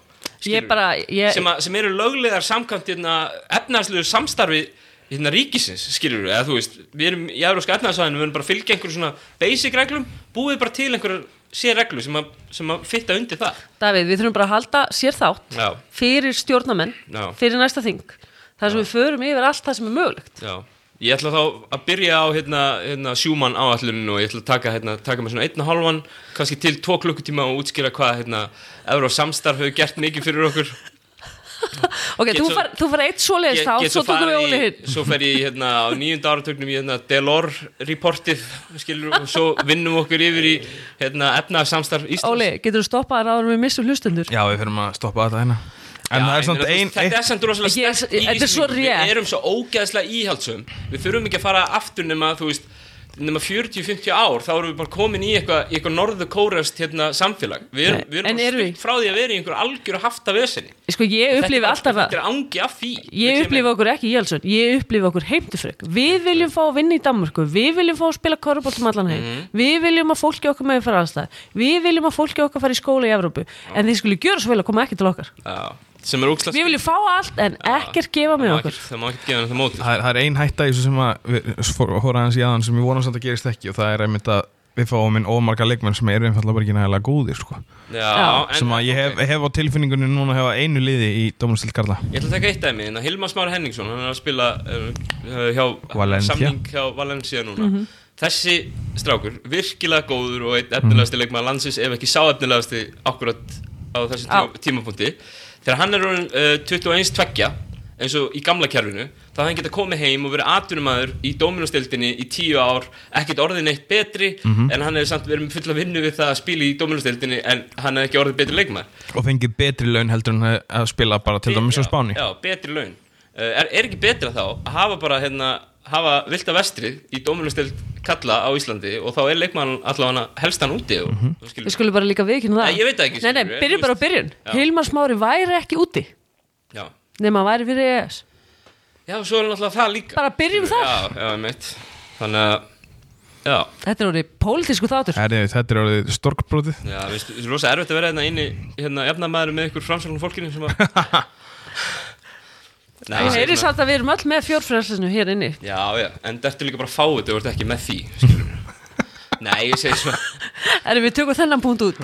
ég bara, ég, sem, að, sem eru löglegar samkvæmt hérna, efnaðsluður samstarfi hérna, ríkisins, skilur við, eða þú veist við erum í Európska efnaðsvæðinu, við erum bara að fylgja einhverjum svona basic reglum, búið bara til einhverjar sér reglu sem að, sem að fitta undir það Davíð, við þurfum bara að halda sér þátt Já. fyrir stjórnamenn, Já. fyrir næsta þing þar sem við förum yfir allt það sem er mögulegt Já, ég ætla þá að byrja á hérna, hérna, sjúmann áalluninu og ég ætla að taka, hérna, taka með svona einn og halvan kannski til tvo klukkutíma og útskýra hvað hérna, Evró samstarf hefur gert mikið fyrir okkur ok, Get þú svo- far- þú fara eitt svoleiðis Ég- þá, get svo tökum við farið Óli í- hinn Svo fer ég hérna, á nýjunda áratögnum í hérna, Delor-reportið skilur, og svo vinnum okkur yfir í hérna, efnaðarsamstarf Íslands Óli, getur þú stoppað að ráður við missum hlustundur Já, við fyrir að stoppa þetta hérna En það er ég meina, samt þú veist, ein Þetta eitt- er samt rosalega Ég- sterk ég- þetta er svo yfirlýsing. rétt. Við erum svo ógeðslega íhaldsum Við þurfum ekki að fara aftur nema þú veist nema 40-50 ár, þá erum við bara komin í eitthvað eitthva norðu kórast hérna, samfélag Við erum, Nei, við erum en bara erum við? stutt frá því að vera í einhverju algjöru hafta vesenni sko, ég upplifi alltaf Þetta að er angi af því ég upplifi okkur ekki Jálsson, ég upplifi okkur heimtufrek við viljum fá að vinna í Danmörku við viljum fá að spila korfbóltum allan heim Mhm. við viljum að fólki okkar með fara aðstæð við viljum að fólki okkar fara í skóla í Evrópu en þið skulle gjöra svo vel að koma ekki til okkar Já, sem er ógeðslega við viljum fá allt en ekkert gefa með okkur Það má ekki gefa þetta móti Það er- það er ein hætta í þessu sem að við hóra hans í aðan sem við vonum samt að gerist ekki og það er einmitt að við fáum inn ómarga leikmenn sem eru einfallega bara ekki nægilega góðir sko. Já, Já. en- sem að ég hef, hef á tilfinningunni núna að hafa einu liði í Dómanistild Karla Ég ætla að taka eitt dæmi, en að Hilmar Smári Henningsson, hann er að spila uh, hjá Valencia. samning hjá Valencia núna. Þessi strákur, virkilega góður og einn efnilegasti leikmaður landsins, ef ekki sá efnilegasti akkurat á þessu Á. tíma, tímapunkti. Þegar hann er orðin uh, 21-2, eins og í gamla kerfinu, þá hann geta komið heim og verið atvinnumæður í Dominostildinni í tíu ár, ekkert orðin eitt betri, en hann er samt verið með fulla vinnu við það að spila í Dominostildinni, en hann er ekki orðið betri leikmaður og fengið betri laun heldur en að- að spila bara til dæmis á já, Eh, Spáni já, betri laun uh, er, er ekki betra þá að hafa bara hérna hafa vilda vestrið í dóminusteld kalla á Íslandi og þá er leikmann allavega helstan úti og, Mhm. mm Við skulum bara líka viðkynna það Nei, ég veit það ekki, Nei, nei, skilurðu, byrjum þú bara á veist. byrjun Já. Hilmar Smári væri ekki úti já. nema hann væri fyrir E ES já, svo er náttúrulega það líka Bara byrjum þar. já, já, mitt. þannig að já, Þetta er orðið pólitísku þáttur Herri, þetta er orðið storkbrótið já, veist, það er rosa erfitt að vera hérna inni hérna, efnamaður með ykkur framsælunum fólkinu sem að Nei, Ég heyri svona- samt að við erum öll með fjórfræðslinu hér inni já, já, en þetta er líka bara fáið þú ert ekki með því, skilur Nei, ég segi svona, Erum við tökum þennan punkt út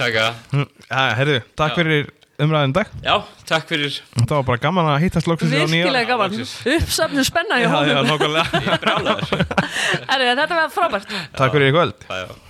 taka Mm, Herri, takk Já. fyrir umræðin dag Já, takk fyrir Það var bara gaman að hittast loksins á nýja- Virkilega gaman loksins. Uppsafnum spenna Já, í já, hóðum nákvæmlega Ég er brjálæður Þetta var frábært Takk fyrir í kvöld Já, já